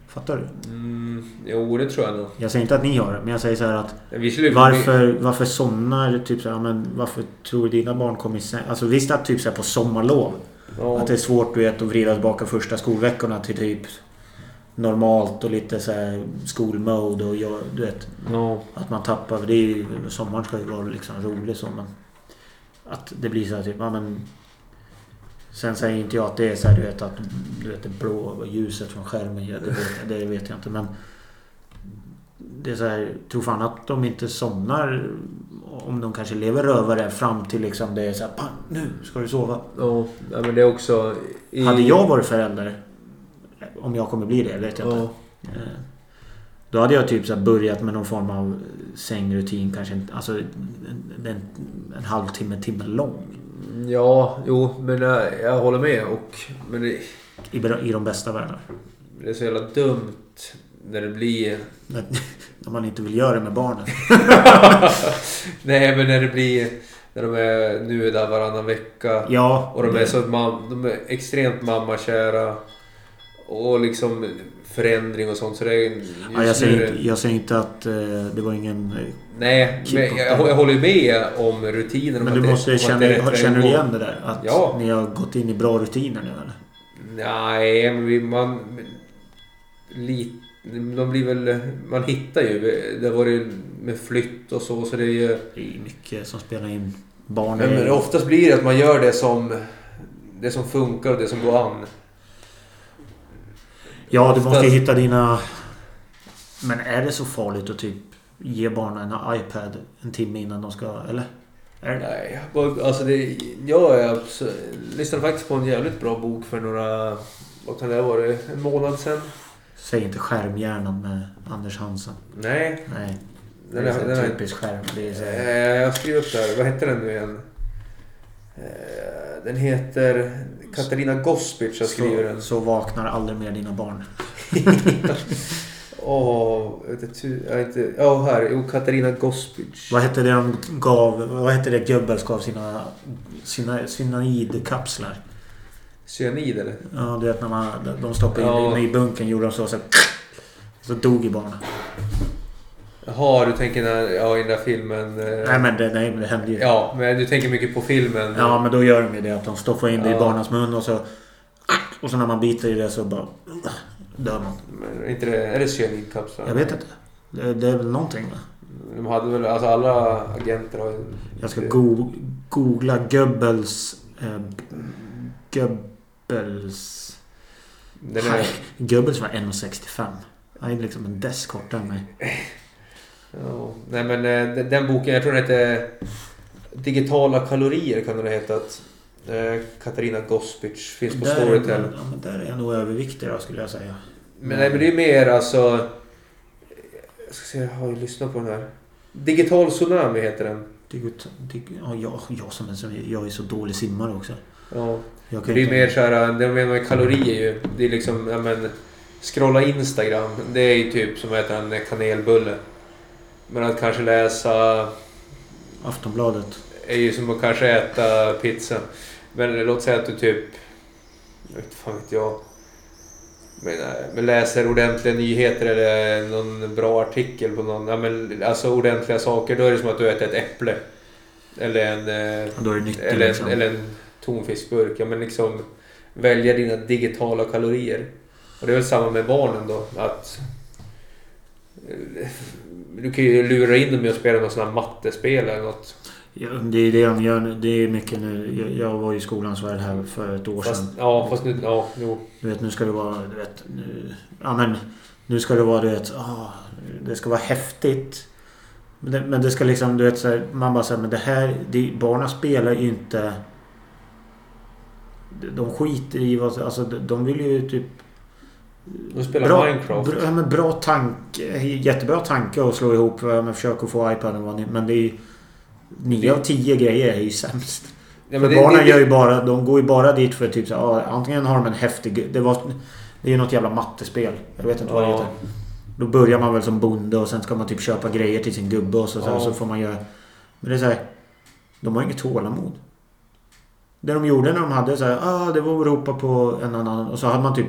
[SPEAKER 2] Fattar du?
[SPEAKER 1] Mm, jo, det tror jag nog.
[SPEAKER 2] Jag säger inte att ni har det, men jag säger så här att
[SPEAKER 1] Vi skulle,
[SPEAKER 2] varför, varför somnar typ så här, ja, men varför tror dina barn kommer i säng? Alltså visst att typ så här på sommarlov.
[SPEAKER 1] Ja,
[SPEAKER 2] Att det är svårt du vet att vrida tillbaka första skolveckorna till typ normalt och lite så här skolmode och jag, du vet.
[SPEAKER 1] ja.
[SPEAKER 2] Att man tappar, för det är ju, sommaren ska ju vara liksom rolig så men... Att det blir så här typ, ja men... Sen säger inte jag att det är så här, du vet att du vet, det blå ljuset från skärmen gör det, vet- det vet jag inte men... Det är så här, tror fan att de inte somnar om de kanske lever rövare fram till liksom det är så här, pang, nu ska du sova.
[SPEAKER 1] ja. Nej, men det är också... i-
[SPEAKER 2] Hade jag varit förälder, om jag kommer bli det vet jag inte.
[SPEAKER 1] Ja.
[SPEAKER 2] Eh, Då hade jag typ så här börjat med någon form av sängrutin kanske inte, alltså en, en, en halvtimme, timme lång.
[SPEAKER 1] Ja, jo, men jag, jag håller med. Och, men det,
[SPEAKER 2] I, bra- i de bästa världar.
[SPEAKER 1] det är så jävla dumt när det blir...
[SPEAKER 2] När (laughs) när man inte vill göra det med barnen.
[SPEAKER 1] (laughs) Nej, men när det blir... När de är, nu är där varannan vecka.
[SPEAKER 2] Ja,
[SPEAKER 1] Och de är,
[SPEAKER 2] det-
[SPEAKER 1] så mam- de är extremt mammakära. Och liksom förändring och sånt. Så det är just
[SPEAKER 2] ja, jag,
[SPEAKER 1] nu
[SPEAKER 2] säger
[SPEAKER 1] är det-
[SPEAKER 2] inte, jag säger inte att eh, det var ingen... eh,
[SPEAKER 1] Nej, men jag, jag, jag håller ju med om rutiner. om att
[SPEAKER 2] Men du
[SPEAKER 1] det- om
[SPEAKER 2] måste
[SPEAKER 1] att
[SPEAKER 2] känna,
[SPEAKER 1] det är rätt väg
[SPEAKER 2] känner
[SPEAKER 1] att
[SPEAKER 2] du
[SPEAKER 1] gå.
[SPEAKER 2] igen det där? Att
[SPEAKER 1] Ja.
[SPEAKER 2] ni har gått in i bra rutiner nu eller?
[SPEAKER 1] Nej, men vi- man... Lite, de blir väl... Man hittar ju. Det var ju med flytt och så. så det är ju,
[SPEAKER 2] Det är mycket som spelar in. Barn
[SPEAKER 1] men, men
[SPEAKER 2] är...
[SPEAKER 1] oftast blir det att man gör det som... Det som funkar och det som går an.
[SPEAKER 2] Ja, du måste ju
[SPEAKER 1] oftast-
[SPEAKER 2] hitta dina... Men är det så farligt att typ ge barnen en iPad en timme innan de ska... Eller? Är det?
[SPEAKER 1] Nej, jag- alltså det, jag är absolut, lyssnade faktiskt på en jävligt bra bok för några, vad kan det ha varit, en månad sedan.
[SPEAKER 2] Säg inte skärmhjärnan med Anders Hansen.
[SPEAKER 1] Nej.
[SPEAKER 2] Nej, det
[SPEAKER 1] Den
[SPEAKER 2] är
[SPEAKER 1] är,
[SPEAKER 2] så typ
[SPEAKER 1] den är,
[SPEAKER 2] typisk skärm. Det är så här,
[SPEAKER 1] eh, jag skriver upp där. Vad heter den nu igen? Eh, Den heter Katarina Gospic. Jag skriver den.
[SPEAKER 2] så, så vaknar aldrig mer dina barn.
[SPEAKER 1] Åh, jag vet inte. hur- Jag vet inte. Ja, här. Jo, Katarina Gospic.
[SPEAKER 2] Vad hette det de gav? Vad hette det Goebbels gav sina, sina cyanidkapslar?
[SPEAKER 1] Cyanid eller?
[SPEAKER 2] Ja, du vet när man, de stoppade in
[SPEAKER 1] Ja.
[SPEAKER 2] inne i bunken gjorde de så så, här, så dog ju barnen.
[SPEAKER 1] Jaha, du tänker när, ja, i den där filmen. eh,
[SPEAKER 2] Nej men det, nej, men det hände ju.
[SPEAKER 1] Ja, men du tänker mycket på filmen.
[SPEAKER 2] Ja, men då gör de ju det att de stoppar in det i
[SPEAKER 1] Ja.
[SPEAKER 2] barnens mun och så... Och så när man biter i det så bara... Dör man.
[SPEAKER 1] Men är inte det, är det cyanidkapslar?
[SPEAKER 2] Jag vet inte. Det, det är väl någonting va?
[SPEAKER 1] De hade väl, alltså alla agenter har ju...
[SPEAKER 2] Jag ska
[SPEAKER 1] det-
[SPEAKER 2] go googla Goebbels... Eh, Goebbels...
[SPEAKER 1] Den
[SPEAKER 2] Nej,
[SPEAKER 1] är,
[SPEAKER 2] Goebbels var 1,65. Han är liksom en dess kortare än mig.
[SPEAKER 1] ja, nej men eh, den- den boken, jag tror den hette Digitala kalorier kan den ha hetat. Eh, Katarina Gospic finns på
[SPEAKER 2] Där,
[SPEAKER 1] Storytel.
[SPEAKER 2] ja, men där är jag nog överviktig då, skulle jag säga.
[SPEAKER 1] Men, nej, men det är mer alltså... Jag ska se, jag har ju lyssnat på den här. Digital tsunami heter den.
[SPEAKER 2] Digot, dig, ja, jag, jag, som är, som är- jag är så dålig simmare också.
[SPEAKER 1] Ja.
[SPEAKER 2] Jag kan
[SPEAKER 1] Det är
[SPEAKER 2] inte-
[SPEAKER 1] mer så här, det menar med kalorier ju. Det är liksom, ja men... Scrolla Instagram, det är ju typ som att äta en kanelbulle. Men att kanske läsa
[SPEAKER 2] Aftonbladet.
[SPEAKER 1] är ju som att kanske äta pizza. Men låt säga att du typ... Jag vet fan vet jag. Men, eh, men läser ordentliga nyheter eller någon bra artikel på någon... Ja, men, alltså ordentliga saker. Då är det som att du äter ett äpple. Eller en... eh,
[SPEAKER 2] Då är det nyttigt
[SPEAKER 1] Eller,
[SPEAKER 2] liksom.
[SPEAKER 1] en, eller en tonfiskburk. Ja, men liksom välja dina digitala kalorier. Och det är väl samma med barnen då. Att eh, du kan ju lura in dem i att spela något sånt här mattespel eller något.
[SPEAKER 2] Ja, det är det han gör nu. Det är mycket nu. Jag, jag var i skolans värld här för ett år
[SPEAKER 1] Fast,
[SPEAKER 2] sedan.
[SPEAKER 1] ja, fast nu... Ja, jo.
[SPEAKER 2] Du vet, nu ska det vara... Du vet, nu, ja, men, nu ska det vara, du vet... ah, det ska vara häftigt. Men det, men det ska liksom, du vet, så här, man bara säger men det här... Det, barnen spelar ju inte... De skiter i vad... Alltså, de de vill ju typ...
[SPEAKER 1] De spelar Minecraft.
[SPEAKER 2] Bra, ja, men bra tanke. Jättebra tanke att slå ihop. Ja, men försök att få iPaden. vad ni- Men det är ju... Nio av tio grejer är ju sämst.
[SPEAKER 1] Ja,
[SPEAKER 2] För
[SPEAKER 1] men det,
[SPEAKER 2] barnen
[SPEAKER 1] det,
[SPEAKER 2] gör ju bara, de går ju bara dit för typ så här, ja, antingen har de en häftig... Det, var, det är ju något jävla mattespel. Jag vet inte vad det
[SPEAKER 1] Ja.
[SPEAKER 2] heter. Då börjar man väl som bonde och sen ska man typ köpa grejer till sin gubbe och så, sen
[SPEAKER 1] Ja.
[SPEAKER 2] så får man göra... Men det är så här, De har inget tålamod. Det de gjorde när de hade så här, ah, det var att ropa på en annan och så hade man typ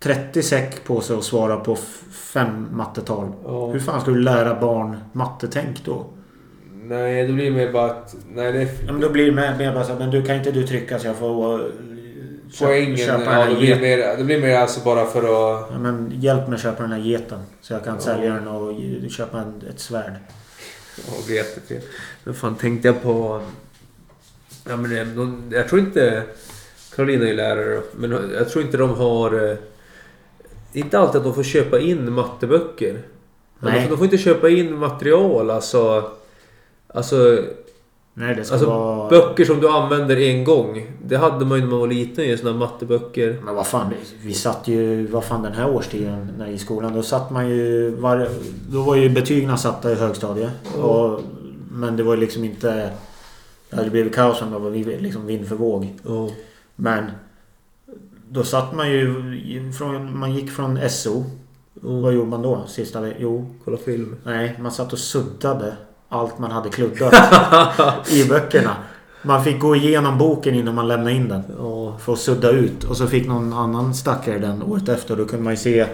[SPEAKER 2] 30 säck på sig och svara på f- fem mattetal.
[SPEAKER 1] Ja.
[SPEAKER 2] Hur fan ska du lära barn mattetänk då?
[SPEAKER 1] Nej, det blir mer bara att... Nej, det är
[SPEAKER 2] Ja, men då blir det mer, mer bara så här, men du kan inte du trycka så jag får... eh, köp-
[SPEAKER 1] poängen.
[SPEAKER 2] köpa den
[SPEAKER 1] ja,
[SPEAKER 2] här
[SPEAKER 1] det, blir
[SPEAKER 2] geten.
[SPEAKER 1] mer, det blir mer alltså bara för att...
[SPEAKER 2] Ja, men hjälp mig att köpa den här geten. Så jag kan
[SPEAKER 1] Ja.
[SPEAKER 2] sälja den och ge- köpa en, ett svärd.
[SPEAKER 1] Ja, det är jättefel. Men fan tänkte jag på... Ja, men, eh, de, jag tror inte... Karolina är ju lärare då, men jag tror inte de har... eh, Inte alltid att de får köpa in matteböcker. Men De,
[SPEAKER 2] Nej.
[SPEAKER 1] får- de får inte köpa in material alltså... Alltså,
[SPEAKER 2] Nej, det ska
[SPEAKER 1] alltså
[SPEAKER 2] vara...
[SPEAKER 1] böcker som du använder en gång. Det hade man ju när man var liten ju, såna här matteböcker.
[SPEAKER 2] Men vad fan, vi satt ju... Vad fan den här årstiden när, i skolan. Då satt man ju... Var, då var ju betygen satta i högstadiet. Och, men det var ju liksom inte... Det hade blivit kaos om det var vi- liksom vind för våg.
[SPEAKER 1] Ja.
[SPEAKER 2] Men då satt man ju från, man gick från SO.
[SPEAKER 1] Mm.
[SPEAKER 2] Vad gjorde man då? Sista ve- Jo,
[SPEAKER 1] Kolla film.
[SPEAKER 2] nej, man satt och suddade allt man
[SPEAKER 1] (laughs)
[SPEAKER 2] hade kluddat i böckerna. Man fick gå igenom boken innan man lämnade in den.
[SPEAKER 1] Ja.
[SPEAKER 2] För att sudda ut. Och så fick någon annan stackare den året efter. Då kunde man ju se...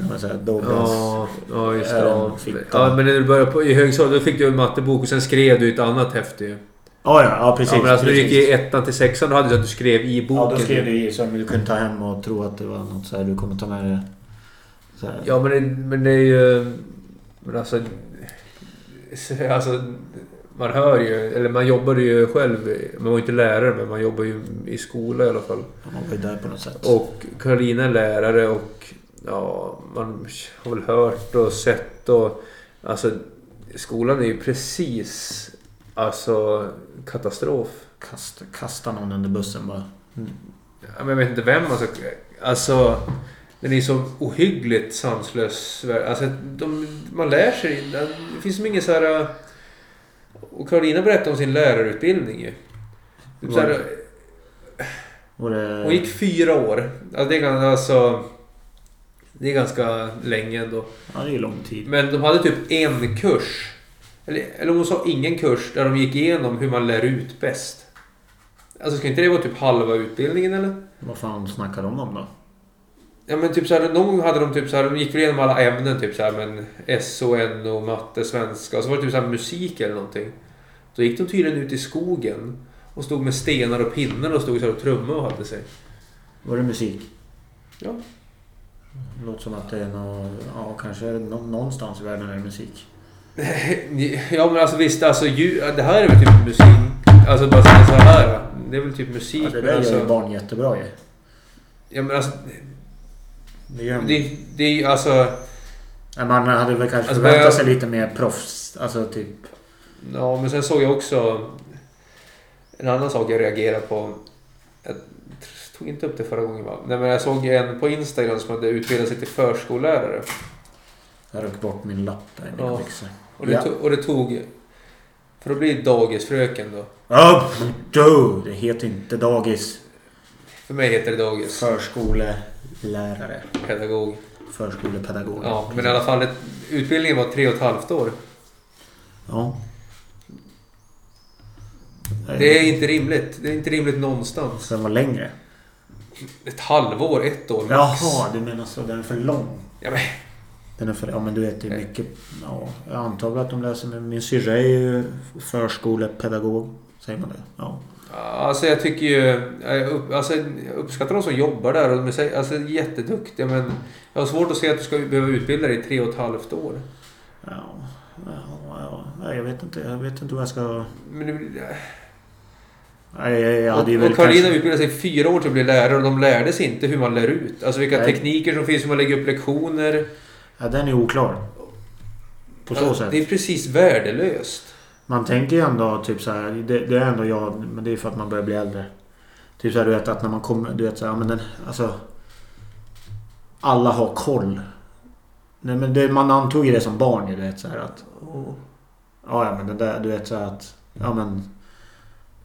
[SPEAKER 2] Det var så här, Douglas.
[SPEAKER 1] Ja, ja just det.
[SPEAKER 2] Öron
[SPEAKER 1] Ja.
[SPEAKER 2] och fitta.
[SPEAKER 1] ja, men när du började på, i högstadiet då fick du en mattebok och sen skrev du ett annat häfte ju.
[SPEAKER 2] Ja, ja, ja, precis.
[SPEAKER 1] Ja, men alltså när du gick
[SPEAKER 2] precis.
[SPEAKER 1] i ettan till sexan då hade du så att du skrev i boken.
[SPEAKER 2] ja, då skrev du i så du kunde ta hem och tro att det var något så här, du kommer ta med dig. Så här.
[SPEAKER 1] Ja, men det, men det är ju... Men alltså... (laughs) Alltså... Man hör ju, eller man jobbar ju själv. Man var ju inte lärare, men man jobbar ju i skola i alla fall.
[SPEAKER 2] Man var ju där på något sätt.
[SPEAKER 1] Och Karolina är lärare och ja, man har väl hört och sett och alltså skolan är ju precis alltså katastrof.
[SPEAKER 2] Kasta, kasta någon under bussen bara.
[SPEAKER 1] Ja, men Jag vet inte vem man ska... Alltså... Den är så ohyggligt sanslös. Alltså, de, man lär sig. Det finns som ingen så här... äh, Och Karolina berättade om sin lärarutbildning ju. Typ så här,
[SPEAKER 2] Och det...
[SPEAKER 1] hon gick fyra år. Alltså, det, är, gan- alltså, det är ganska länge ändå.
[SPEAKER 2] Ja, det är ju lång tid.
[SPEAKER 1] Men de hade typ en kurs. Eller, eller hon sa ingen kurs där de gick igenom hur man lär ut bäst. Alltså ska inte det vara typ halva utbildningen eller?
[SPEAKER 2] Vad fan snackar de om då?
[SPEAKER 1] Ja men typ så här, någon gång hade de typ så här, de gick väl igenom alla ämnen typ så här, men SO, NO, matte, svenska och så var det typ så här musik eller någonting. Då gick de tydligen ut i skogen och stod med stenar och pinnar och stod så här och trummade och hade sig. (laughs)
[SPEAKER 2] Var det musik?
[SPEAKER 1] Ja.
[SPEAKER 2] Det låter som att det är nå... Ja, kanske är det nå- någonstans i världen är det musik.
[SPEAKER 1] Ja men alltså visst, alltså ju, det här är väl typ musik. Alltså bara så här, det är väl typ musik.
[SPEAKER 2] Ja, det
[SPEAKER 1] men
[SPEAKER 2] där gör ju
[SPEAKER 1] alltså,
[SPEAKER 2] barn jättebra ju.
[SPEAKER 1] ja men alltså
[SPEAKER 2] Det gör de.
[SPEAKER 1] Det, det är ju alltså...
[SPEAKER 2] Ja, Man hade väl kanske
[SPEAKER 1] Alltså,
[SPEAKER 2] förväntat
[SPEAKER 1] börja-
[SPEAKER 2] sig lite mer proffs. Alltså typ...
[SPEAKER 1] Ja, men sen såg jag också en annan sak jag reagerade på. Jag tog inte upp det förra gången va? Nej, men jag såg en på Instagram som hade utbildat sig till förskollärare.
[SPEAKER 2] Jag rök bort min lapp där i mina
[SPEAKER 1] Ja.
[SPEAKER 2] byxor.
[SPEAKER 1] Och det,
[SPEAKER 2] Ja.
[SPEAKER 1] to- och det tog... För att bli dagisfröken då.
[SPEAKER 2] Ja, du! Det heter inte dagis.
[SPEAKER 1] För mig heter det dagis.
[SPEAKER 2] Förskolelärare.
[SPEAKER 1] Pedagog.
[SPEAKER 2] Förskolepedagog.
[SPEAKER 1] Ja, men i alla fall. ett- Utbildningen var tre och ett halvt år.
[SPEAKER 2] Ja.
[SPEAKER 1] Det är inte rimligt. Det är inte rimligt någonstans.
[SPEAKER 2] Den var längre.
[SPEAKER 1] Ett halvår, ett år max.
[SPEAKER 2] Jaha, du menar så. Den är för lång.
[SPEAKER 1] Ja, men,
[SPEAKER 2] Den är för, ja men du vet det
[SPEAKER 1] Eh.
[SPEAKER 2] är mycket. Ja, jag antar väl att de läser med. Min syrra är ju förskolepedagog. Säger man det? Ja.
[SPEAKER 1] Alltså jag tycker ju... jag upp- Alltså, jag uppskattar de som jobbar där. Och de är sä- alltså, jätteduktiga men jag har svårt att se att du ska behöva utbilda dig i tre och ett halvt år.
[SPEAKER 2] Ja. Ja, ja. Nej, Jag vet inte. Jag vet inte vad jag ska... Men
[SPEAKER 1] du-
[SPEAKER 2] Nej, jag, jag hade ju
[SPEAKER 1] och
[SPEAKER 2] väl
[SPEAKER 1] och Karolina
[SPEAKER 2] kanske...
[SPEAKER 1] utbildade sig i fyra år till att bli lärare och de lärde sig inte hur man lär ut. Alltså vilka
[SPEAKER 2] Nej.
[SPEAKER 1] tekniker som finns, hur man lägger upp lektioner.
[SPEAKER 2] Ja, den är oklar. På så
[SPEAKER 1] Alltså,
[SPEAKER 2] sätt.
[SPEAKER 1] Det är precis värdelöst.
[SPEAKER 2] Man tänker ju ändå typ så här, det, det är ändå jag, men det är för att man börjar bli äldre. Typ så här, du vet att när man kommer, du vet så här, ja, men den, alltså. Alla har koll. Nej men det, man antog ju det som barn ju, du vet så här att.
[SPEAKER 1] Mm.
[SPEAKER 2] Ja, ja men det där, du vet så här att, ja men.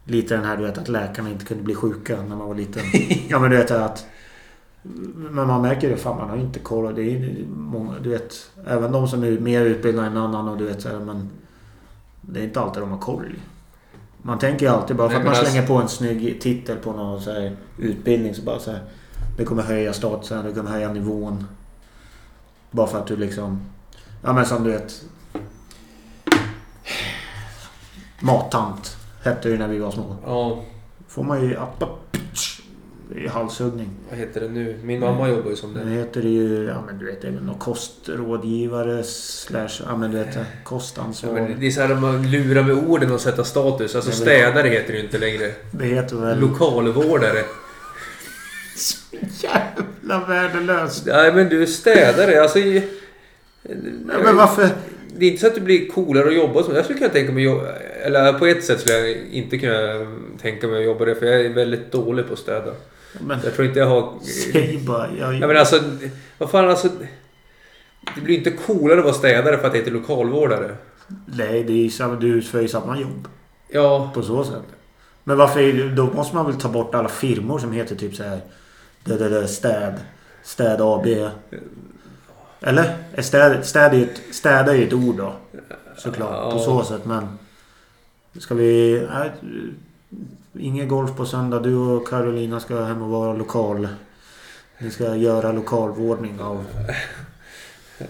[SPEAKER 2] Lite den här du vet att läkarna inte kunde bli sjuka när man
[SPEAKER 1] (laughs)
[SPEAKER 2] var liten. Ja men du vet så här att. Men man märker det, fan man har ju inte koll. Det är ju många, du vet. Även de som är mer utbildade än annan och du vet så här, men. Det är inte alltid de har koll. Man tänker ju alltid bara
[SPEAKER 1] Nej,
[SPEAKER 2] för att
[SPEAKER 1] men
[SPEAKER 2] man
[SPEAKER 1] alltså-
[SPEAKER 2] slänger på en snygg titel på någon så här, utbildning så bara så här. Det kommer höja statusen, det kommer höja nivån. Bara för att du liksom... Ja men som du vet... Mattant hette det ju när vi var små.
[SPEAKER 1] Ja,
[SPEAKER 2] Får man ju... appa- Det är halshuggning.
[SPEAKER 1] vad heter det nu? Min mamma
[SPEAKER 2] Mm.
[SPEAKER 1] jobbar ju som det.
[SPEAKER 2] Nu heter det ju... Ja men du vet, det är väl någon kostrådgivare slash... Ja men du vet,
[SPEAKER 1] Ja, men
[SPEAKER 2] kostansvarig.
[SPEAKER 1] det är så här man lurar med orden och sätta status. Alltså
[SPEAKER 2] Nej, men-
[SPEAKER 1] städare heter det ju inte längre.
[SPEAKER 2] Det heter väl...
[SPEAKER 1] Lokalvårdare.
[SPEAKER 2] Jävla värdelöst!
[SPEAKER 1] Nej men du är städare. Alltså... i-
[SPEAKER 2] Ja, men varför...
[SPEAKER 1] Det är inte så att det blir coolare att jobba som... Jag skulle kunna tänka mig att jobba... Eller på ett sätt skulle jag inte kunna tänka mig att jobba det för jag är väldigt dålig på att städa.
[SPEAKER 2] Men,
[SPEAKER 1] Jag tror inte jag har...
[SPEAKER 2] säg bara... Jag,
[SPEAKER 1] Ja men alltså... Vad fan alltså... Det blir inte coolare att vara städare för att det heter lokalvårdare.
[SPEAKER 2] Nej, det är ju samma, du utför ju samma jobb.
[SPEAKER 1] Ja.
[SPEAKER 2] På så sätt. Men varför är det, då måste man väl ta bort alla firmor som heter typ så här det, det, det, Städ. Städ AB. Eller? Är Städ, städ är ju ett, städ är ju ett ord då. Såklart. På
[SPEAKER 1] Ja.
[SPEAKER 2] så sätt. Men ska vi... Nej, ingen golf på söndag. Du och Carolina ska hem och vara lokal. Ni ska göra lokalvårdning av...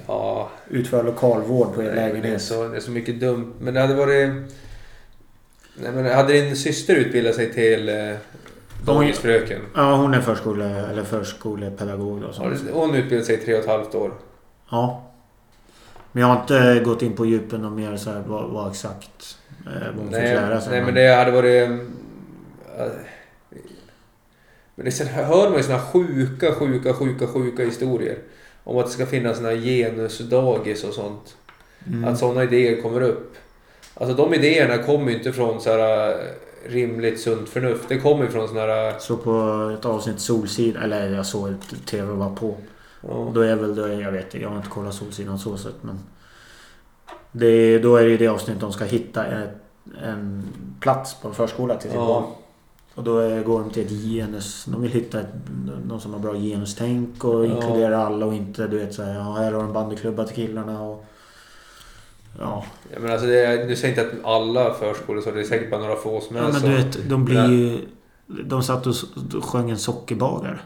[SPEAKER 1] Ja.
[SPEAKER 2] Utföra lokalvård på er
[SPEAKER 1] Nej, det, är
[SPEAKER 2] lägenhet.
[SPEAKER 1] så, det är så mycket dumt. Men det hade varit... Nej men hade din syster utbildat sig till... Eh, dagisfröken?
[SPEAKER 2] Ja, hon är förskole... Eller förskolepedagog då. som
[SPEAKER 1] Har Hon utbildade sig i tre och ett halvt år.
[SPEAKER 2] Ja. Men jag har inte eh, gått in på djupen och mer så här vad, vad exakt eh, vad hon fick
[SPEAKER 1] Nej,
[SPEAKER 2] lära sig.
[SPEAKER 1] nej men det hade varit... mm, äh, Men det, sen hör man ju såna sjuka, sjuka, sjuka, sjuka historier. Om att det ska finnas såna här genusdagis och sånt.
[SPEAKER 2] Mm.
[SPEAKER 1] Att såna idéer kommer upp. Alltså de idéerna kommer ju inte från så här äh, rimligt sunt förnuft. Det kommer ju från såna här... äh,
[SPEAKER 2] Så på ett avsnitt Solsidan, eller jag såg ett tv och var på.
[SPEAKER 1] Ja.
[SPEAKER 2] Då är väl det, jag vet inte, jag har inte kollat Solsidan så sett men... Det, är- då är det ju det avsnittet de ska hitta en, en plats på en förskola till sitt
[SPEAKER 1] Ja.
[SPEAKER 2] barn. Och då är, går de till ett genus... De vill hitta ett, någon som har bra genustänk och
[SPEAKER 1] Ja.
[SPEAKER 2] inkludera alla och inte du vet såhär, ja här har de bandyklubba till killarna och... Ja,
[SPEAKER 1] Ja, men alltså det är, du säger inte att alla förskolor så det är säkert bara några få som
[SPEAKER 2] ja
[SPEAKER 1] är
[SPEAKER 2] men
[SPEAKER 1] så.
[SPEAKER 2] du vet, de blir
[SPEAKER 1] där-
[SPEAKER 2] ju... De satt och s- sjöng en sockerbagare.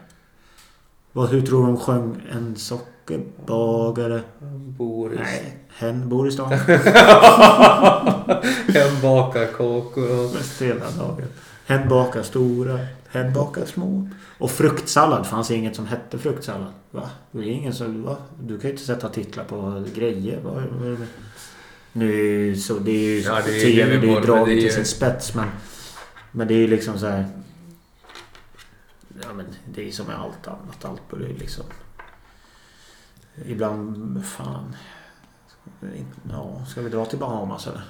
[SPEAKER 2] Vad, hur tror du de sjöng en sockerbagare?
[SPEAKER 1] Boris.
[SPEAKER 2] Nej, hen bor i stan. (laughs)
[SPEAKER 1] Hem bakar kakor och...
[SPEAKER 2] Mest hela dagen. Hen bakar stora, hen bakar små. Och fruktsallad. Fanns inget som hette fruktsallad. Va? Det är ingen som... Va? Du kan ju inte sätta titlar på grejer. Va? Vad är det? Nu, så det är ju...
[SPEAKER 1] Ja, det är ju
[SPEAKER 2] tiden,
[SPEAKER 1] Gävleborg,
[SPEAKER 2] det är ju
[SPEAKER 1] men
[SPEAKER 2] draget
[SPEAKER 1] det är ju-
[SPEAKER 2] till sin spets men... Men det är ju liksom så här... Ja men det är ju som med allt annat. Allt börjar ju liksom... Ibland... Fan. Ja, ska vi dra till Bahamas eller?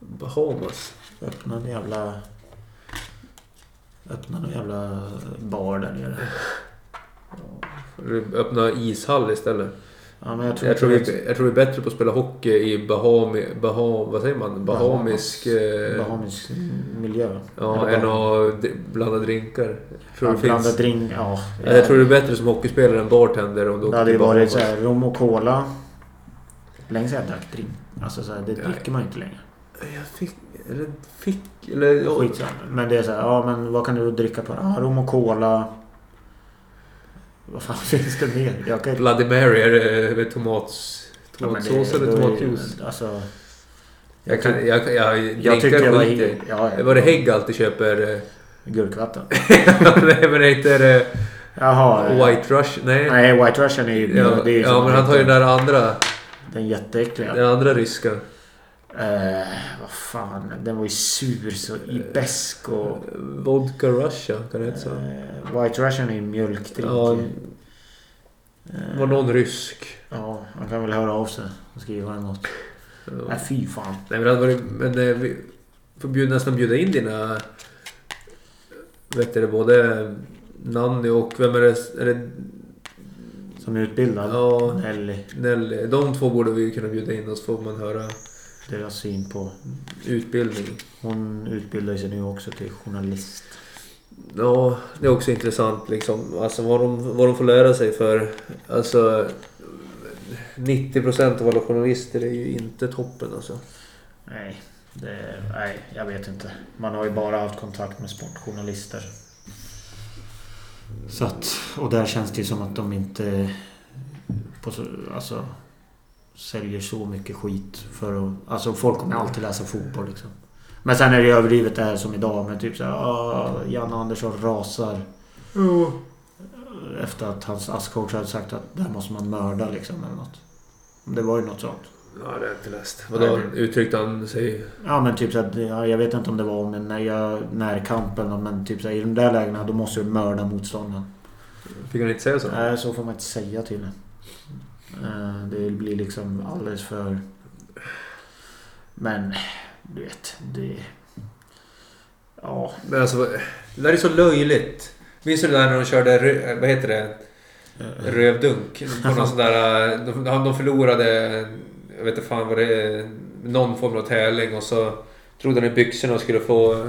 [SPEAKER 1] Bahamas.
[SPEAKER 2] Öppna en jävla... Öppna en jävla bar där nere.
[SPEAKER 1] Får du Öppna ishall istället.
[SPEAKER 2] Ja, men jag tror,
[SPEAKER 1] Jag tror,
[SPEAKER 2] inte
[SPEAKER 1] vi, jag tror vi är bättre på att spela hockey i Bahami... Baham, vad säger man? Bahamisk...
[SPEAKER 2] det är
[SPEAKER 1] Eh,
[SPEAKER 2] Bahamisk miljö.
[SPEAKER 1] ja,
[SPEAKER 2] Eller
[SPEAKER 1] än
[SPEAKER 2] bara-
[SPEAKER 1] att d- blanda drinkar. Jag tror det
[SPEAKER 2] Ja, blanda
[SPEAKER 1] finns.
[SPEAKER 2] drink. Ja.
[SPEAKER 1] Ja, Jag tror du är bättre som hockeyspelare än bartender om du
[SPEAKER 2] det
[SPEAKER 1] åker
[SPEAKER 2] hade ju
[SPEAKER 1] till Bahamas.
[SPEAKER 2] varit så här, rom och cola. Länge sedan jag drack drink. Alltså så här, det
[SPEAKER 1] Nej.
[SPEAKER 2] dricker man ju inte längre.
[SPEAKER 1] Jag fick... Eller fick... Eller... ja,
[SPEAKER 2] Skitsamma. Men det är så här, ja men vad kan du dricka på? Ja, rom och cola. Vad fan (laughs) finns det mer? Jag kan inte...
[SPEAKER 1] Bloody Mary, är det med tomats...
[SPEAKER 2] Ja, men det-
[SPEAKER 1] Tomatsås eller
[SPEAKER 2] då är-
[SPEAKER 1] tomatjuice?
[SPEAKER 2] Alltså...
[SPEAKER 1] Jag kan... Jag, jag, jag,
[SPEAKER 2] Jag tyckte jag var...
[SPEAKER 1] drinkar skiter
[SPEAKER 2] Ja, ja.
[SPEAKER 1] Var det Hägg alltid köper? eh, (laughs)
[SPEAKER 2] Gurkvatten.
[SPEAKER 1] Nej men det heter eh,
[SPEAKER 2] Jaha. eh,
[SPEAKER 1] White Rush? Nej.
[SPEAKER 2] Nej, White Russian är ju...
[SPEAKER 1] ja,
[SPEAKER 2] det är ju
[SPEAKER 1] ja
[SPEAKER 2] som-
[SPEAKER 1] men han tar ju den där andra.
[SPEAKER 2] Den jätteäckliga.
[SPEAKER 1] Den andra ryska.
[SPEAKER 2] Eh, vad fan. Den var ju sur så i besk och...
[SPEAKER 1] Vodka Russia, kan Eh, det heta så?
[SPEAKER 2] Eh, White Russian är ju mjölkdrink.
[SPEAKER 1] Ja.
[SPEAKER 2] Eh,
[SPEAKER 1] Var någon rysk?
[SPEAKER 2] Ja, han kan väl höra av sig och skriva något.
[SPEAKER 1] Ja.
[SPEAKER 2] Nej, fy fan.
[SPEAKER 1] Nej men det hade varit... Men eh, vi får bjud, nästan bjuda in dina... Vet du det, både Nanny och vem är det? Är det
[SPEAKER 2] Som är utbildad.
[SPEAKER 1] ja,
[SPEAKER 2] Nelly.
[SPEAKER 1] Nelly. De två borde vi kunna bjuda in och så får man höra
[SPEAKER 2] Deras syn på...
[SPEAKER 1] utbildning.
[SPEAKER 2] Hon utbildar sig nu också till journalist.
[SPEAKER 1] Ja, det är också intressant liksom. Alltså vad de, vad de får lära sig för... Alltså... 90% av alla journalister är ju inte toppen alltså.
[SPEAKER 2] Nej, det, nej, jag vet inte. Man har ju bara haft kontakt med sportjournalister. Så att, och där känns det ju som att de inte på så, alltså, säljer så mycket skit. För att, alltså folk kommer alltid läsa fotboll liksom. Men sen är det ju överdrivet det här som idag med typ såhär "Ah, Janne Andersson rasar efter att hans askcoach hade sagt att där måste man mörda liksom eller något. Det var ju något sånt.
[SPEAKER 1] Ja, det har jag inte läst. Vadå?
[SPEAKER 2] Nej,
[SPEAKER 1] Uttryckte han sig...
[SPEAKER 2] Ja men typ så att, ja, jag vet inte om det var om en när jag, närkamp eller något, men typ så här, i de där lägena då måste du mörda motståndaren.
[SPEAKER 1] Fick han inte säga så?
[SPEAKER 2] Nej så får man inte säga till uh, Det blir liksom alldeles för... Men du vet, det... Ja,
[SPEAKER 1] Men alltså, vad- det där är så löjligt. Minns du det där när de körde, rö- eh, vad heter det, rövdunk? På någon sån där, eh, de, de förlorade, jag vet inte fan vad det är, någon form av tävling och så trodde han i byxorna och skulle få, eh,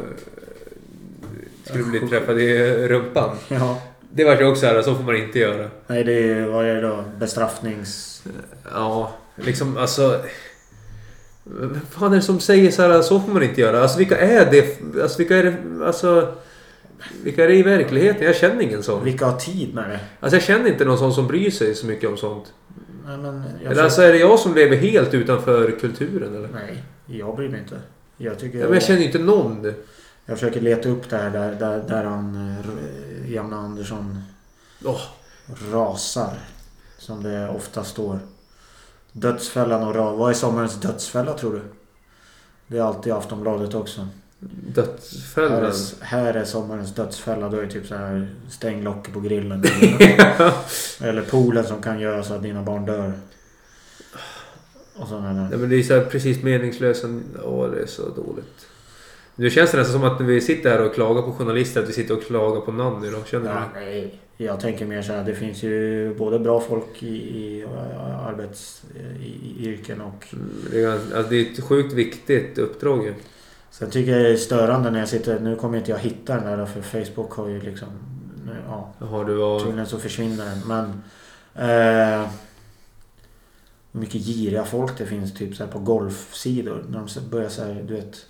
[SPEAKER 1] skulle bli träffad i rumpan.
[SPEAKER 2] ja.
[SPEAKER 1] Det var ju också här, så får man inte göra.
[SPEAKER 2] Nej det är vad är det då? Bestraffnings...
[SPEAKER 1] Ja, liksom alltså. Vem fan är det som säger så här, så får man inte göra? Alltså vilka är det? Alltså vilka är det? Alltså. Vilka är det i verkligheten? Jag känner ingen sån.
[SPEAKER 2] Vilka har tid med det?
[SPEAKER 1] Alltså jag känner inte någon sån som bryr sig så mycket om sånt.
[SPEAKER 2] Nej men... Jag
[SPEAKER 1] Eller alltså är det jag som lever helt utanför kulturen eller?
[SPEAKER 2] Nej, jag bryr mig inte. Jag tycker...
[SPEAKER 1] Ja, men jag känner ju inte någon.
[SPEAKER 2] Jag försöker leta upp det här där, där, där han, eh, R- Janne Andersson,
[SPEAKER 1] Åh.
[SPEAKER 2] rasar. Som det ofta står. Dödsfällan och ras. Vad är sommarens dödsfälla tror du? Det är alltid Aftonbladet också. Här
[SPEAKER 1] Dödsfällan.
[SPEAKER 2] är, här är sommarens dödsfälla. Då är det typ så här stäng locket på grillen. (laughs)
[SPEAKER 1] (laughs)
[SPEAKER 2] Eller poolen som kan göra så att dina barn dör. Och sådana där.
[SPEAKER 1] Nej men det är så här precis meningslösa. Åh det är så dåligt. Nu känns det nästan som att när vi sitter här och klagar på journalister att vi sitter och klagar på Nanny då. Känner du
[SPEAKER 2] Ja,
[SPEAKER 1] det?
[SPEAKER 2] nej. Jag tänker mer så här, det finns ju både bra folk i, i eh, arbets... I, i yrken och...
[SPEAKER 1] Mm, det? är gans- Alltså, det är ett sjukt viktigt uppdrag ju.
[SPEAKER 2] Sen tycker jag det är störande när jag sitter... Nu kommer inte jag hitta den där för Facebook har ju liksom... Nu, ja,
[SPEAKER 1] Jaha, du var...
[SPEAKER 2] Tydligen så försvinner den. Men... Eh, hur mycket giriga folk det finns typ så här på golfsidor. När de så- börjar så här, du vet...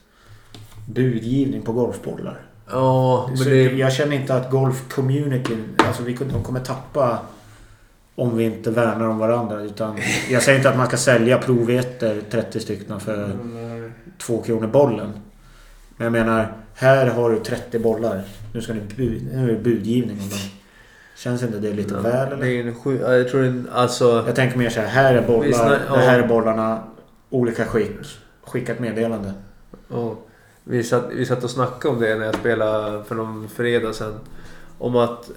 [SPEAKER 2] Budgivning på golfbollar.
[SPEAKER 1] Ja, men
[SPEAKER 2] Så
[SPEAKER 1] det...
[SPEAKER 2] Jag känner inte att golfcommunityn... Alltså vi, kunde- de kommer tappa... Om vi inte värnar om varandra. Utan jag säger inte att man ska sälja provveter 30 stycken för två kronor bollen. Men jag menar, här har du 30 bollar. Nu ska ni bud, nu är det budgivning om dem. Känns inte det lite väl eller?
[SPEAKER 1] Det är en sju... ja, Jag tror en... Alltså...
[SPEAKER 2] Jag tänker mer så här, här är bollar,
[SPEAKER 1] Vi snar- ja.
[SPEAKER 2] det här är bollarna, olika skick. Skicka ett meddelande.
[SPEAKER 1] Ja. Vi, satt, vi satt och snackade om det när jag spelade för någon fredag sen. Om att...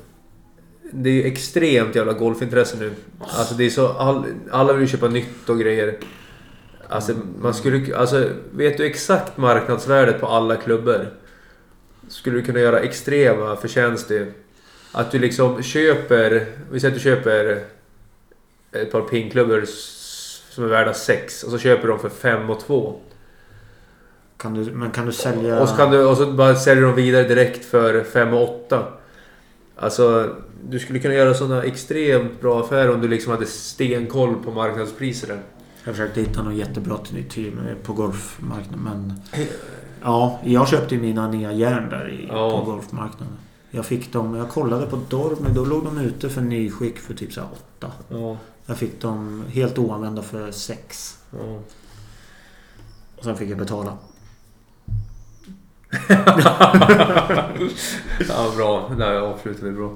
[SPEAKER 1] Det är ju extremt jävla golfintresse nu. Alltså det är så... All, alla vill ju köpa nytt och grejer. Alltså man skulle... Alltså vet du exakt marknadsvärdet på alla klubbor? Skulle du kunna göra extrema förtjänster. Att du liksom köper... Vi säger att du köper ett par pinklubbor s- som är värda 6 och så köper du dem för 5 och 2.
[SPEAKER 2] Kan du, men kan du sälja...
[SPEAKER 1] Och så, kan du, och så bara säljer de vidare direkt för 5 och 8. Alltså, du skulle kunna göra sådana extremt bra affärer om du liksom hade stenkoll på marknadspriserna.
[SPEAKER 2] Jag försökte hitta något jättebra till nytt team eh, på golfmarknaden men... Ja, jag köpte ju mina nya järn där i,
[SPEAKER 1] Ja.
[SPEAKER 2] på golfmarknaden. Jag fick dem, jag kollade på Dormi, då låg de ute för nyskick för typ så här 8.
[SPEAKER 1] Ja.
[SPEAKER 2] Jag fick dem helt oanvända för 6.
[SPEAKER 1] (laughs) ja.
[SPEAKER 2] Och sen fick jag betala.
[SPEAKER 1] ja bra. Det här avslutar vi bra.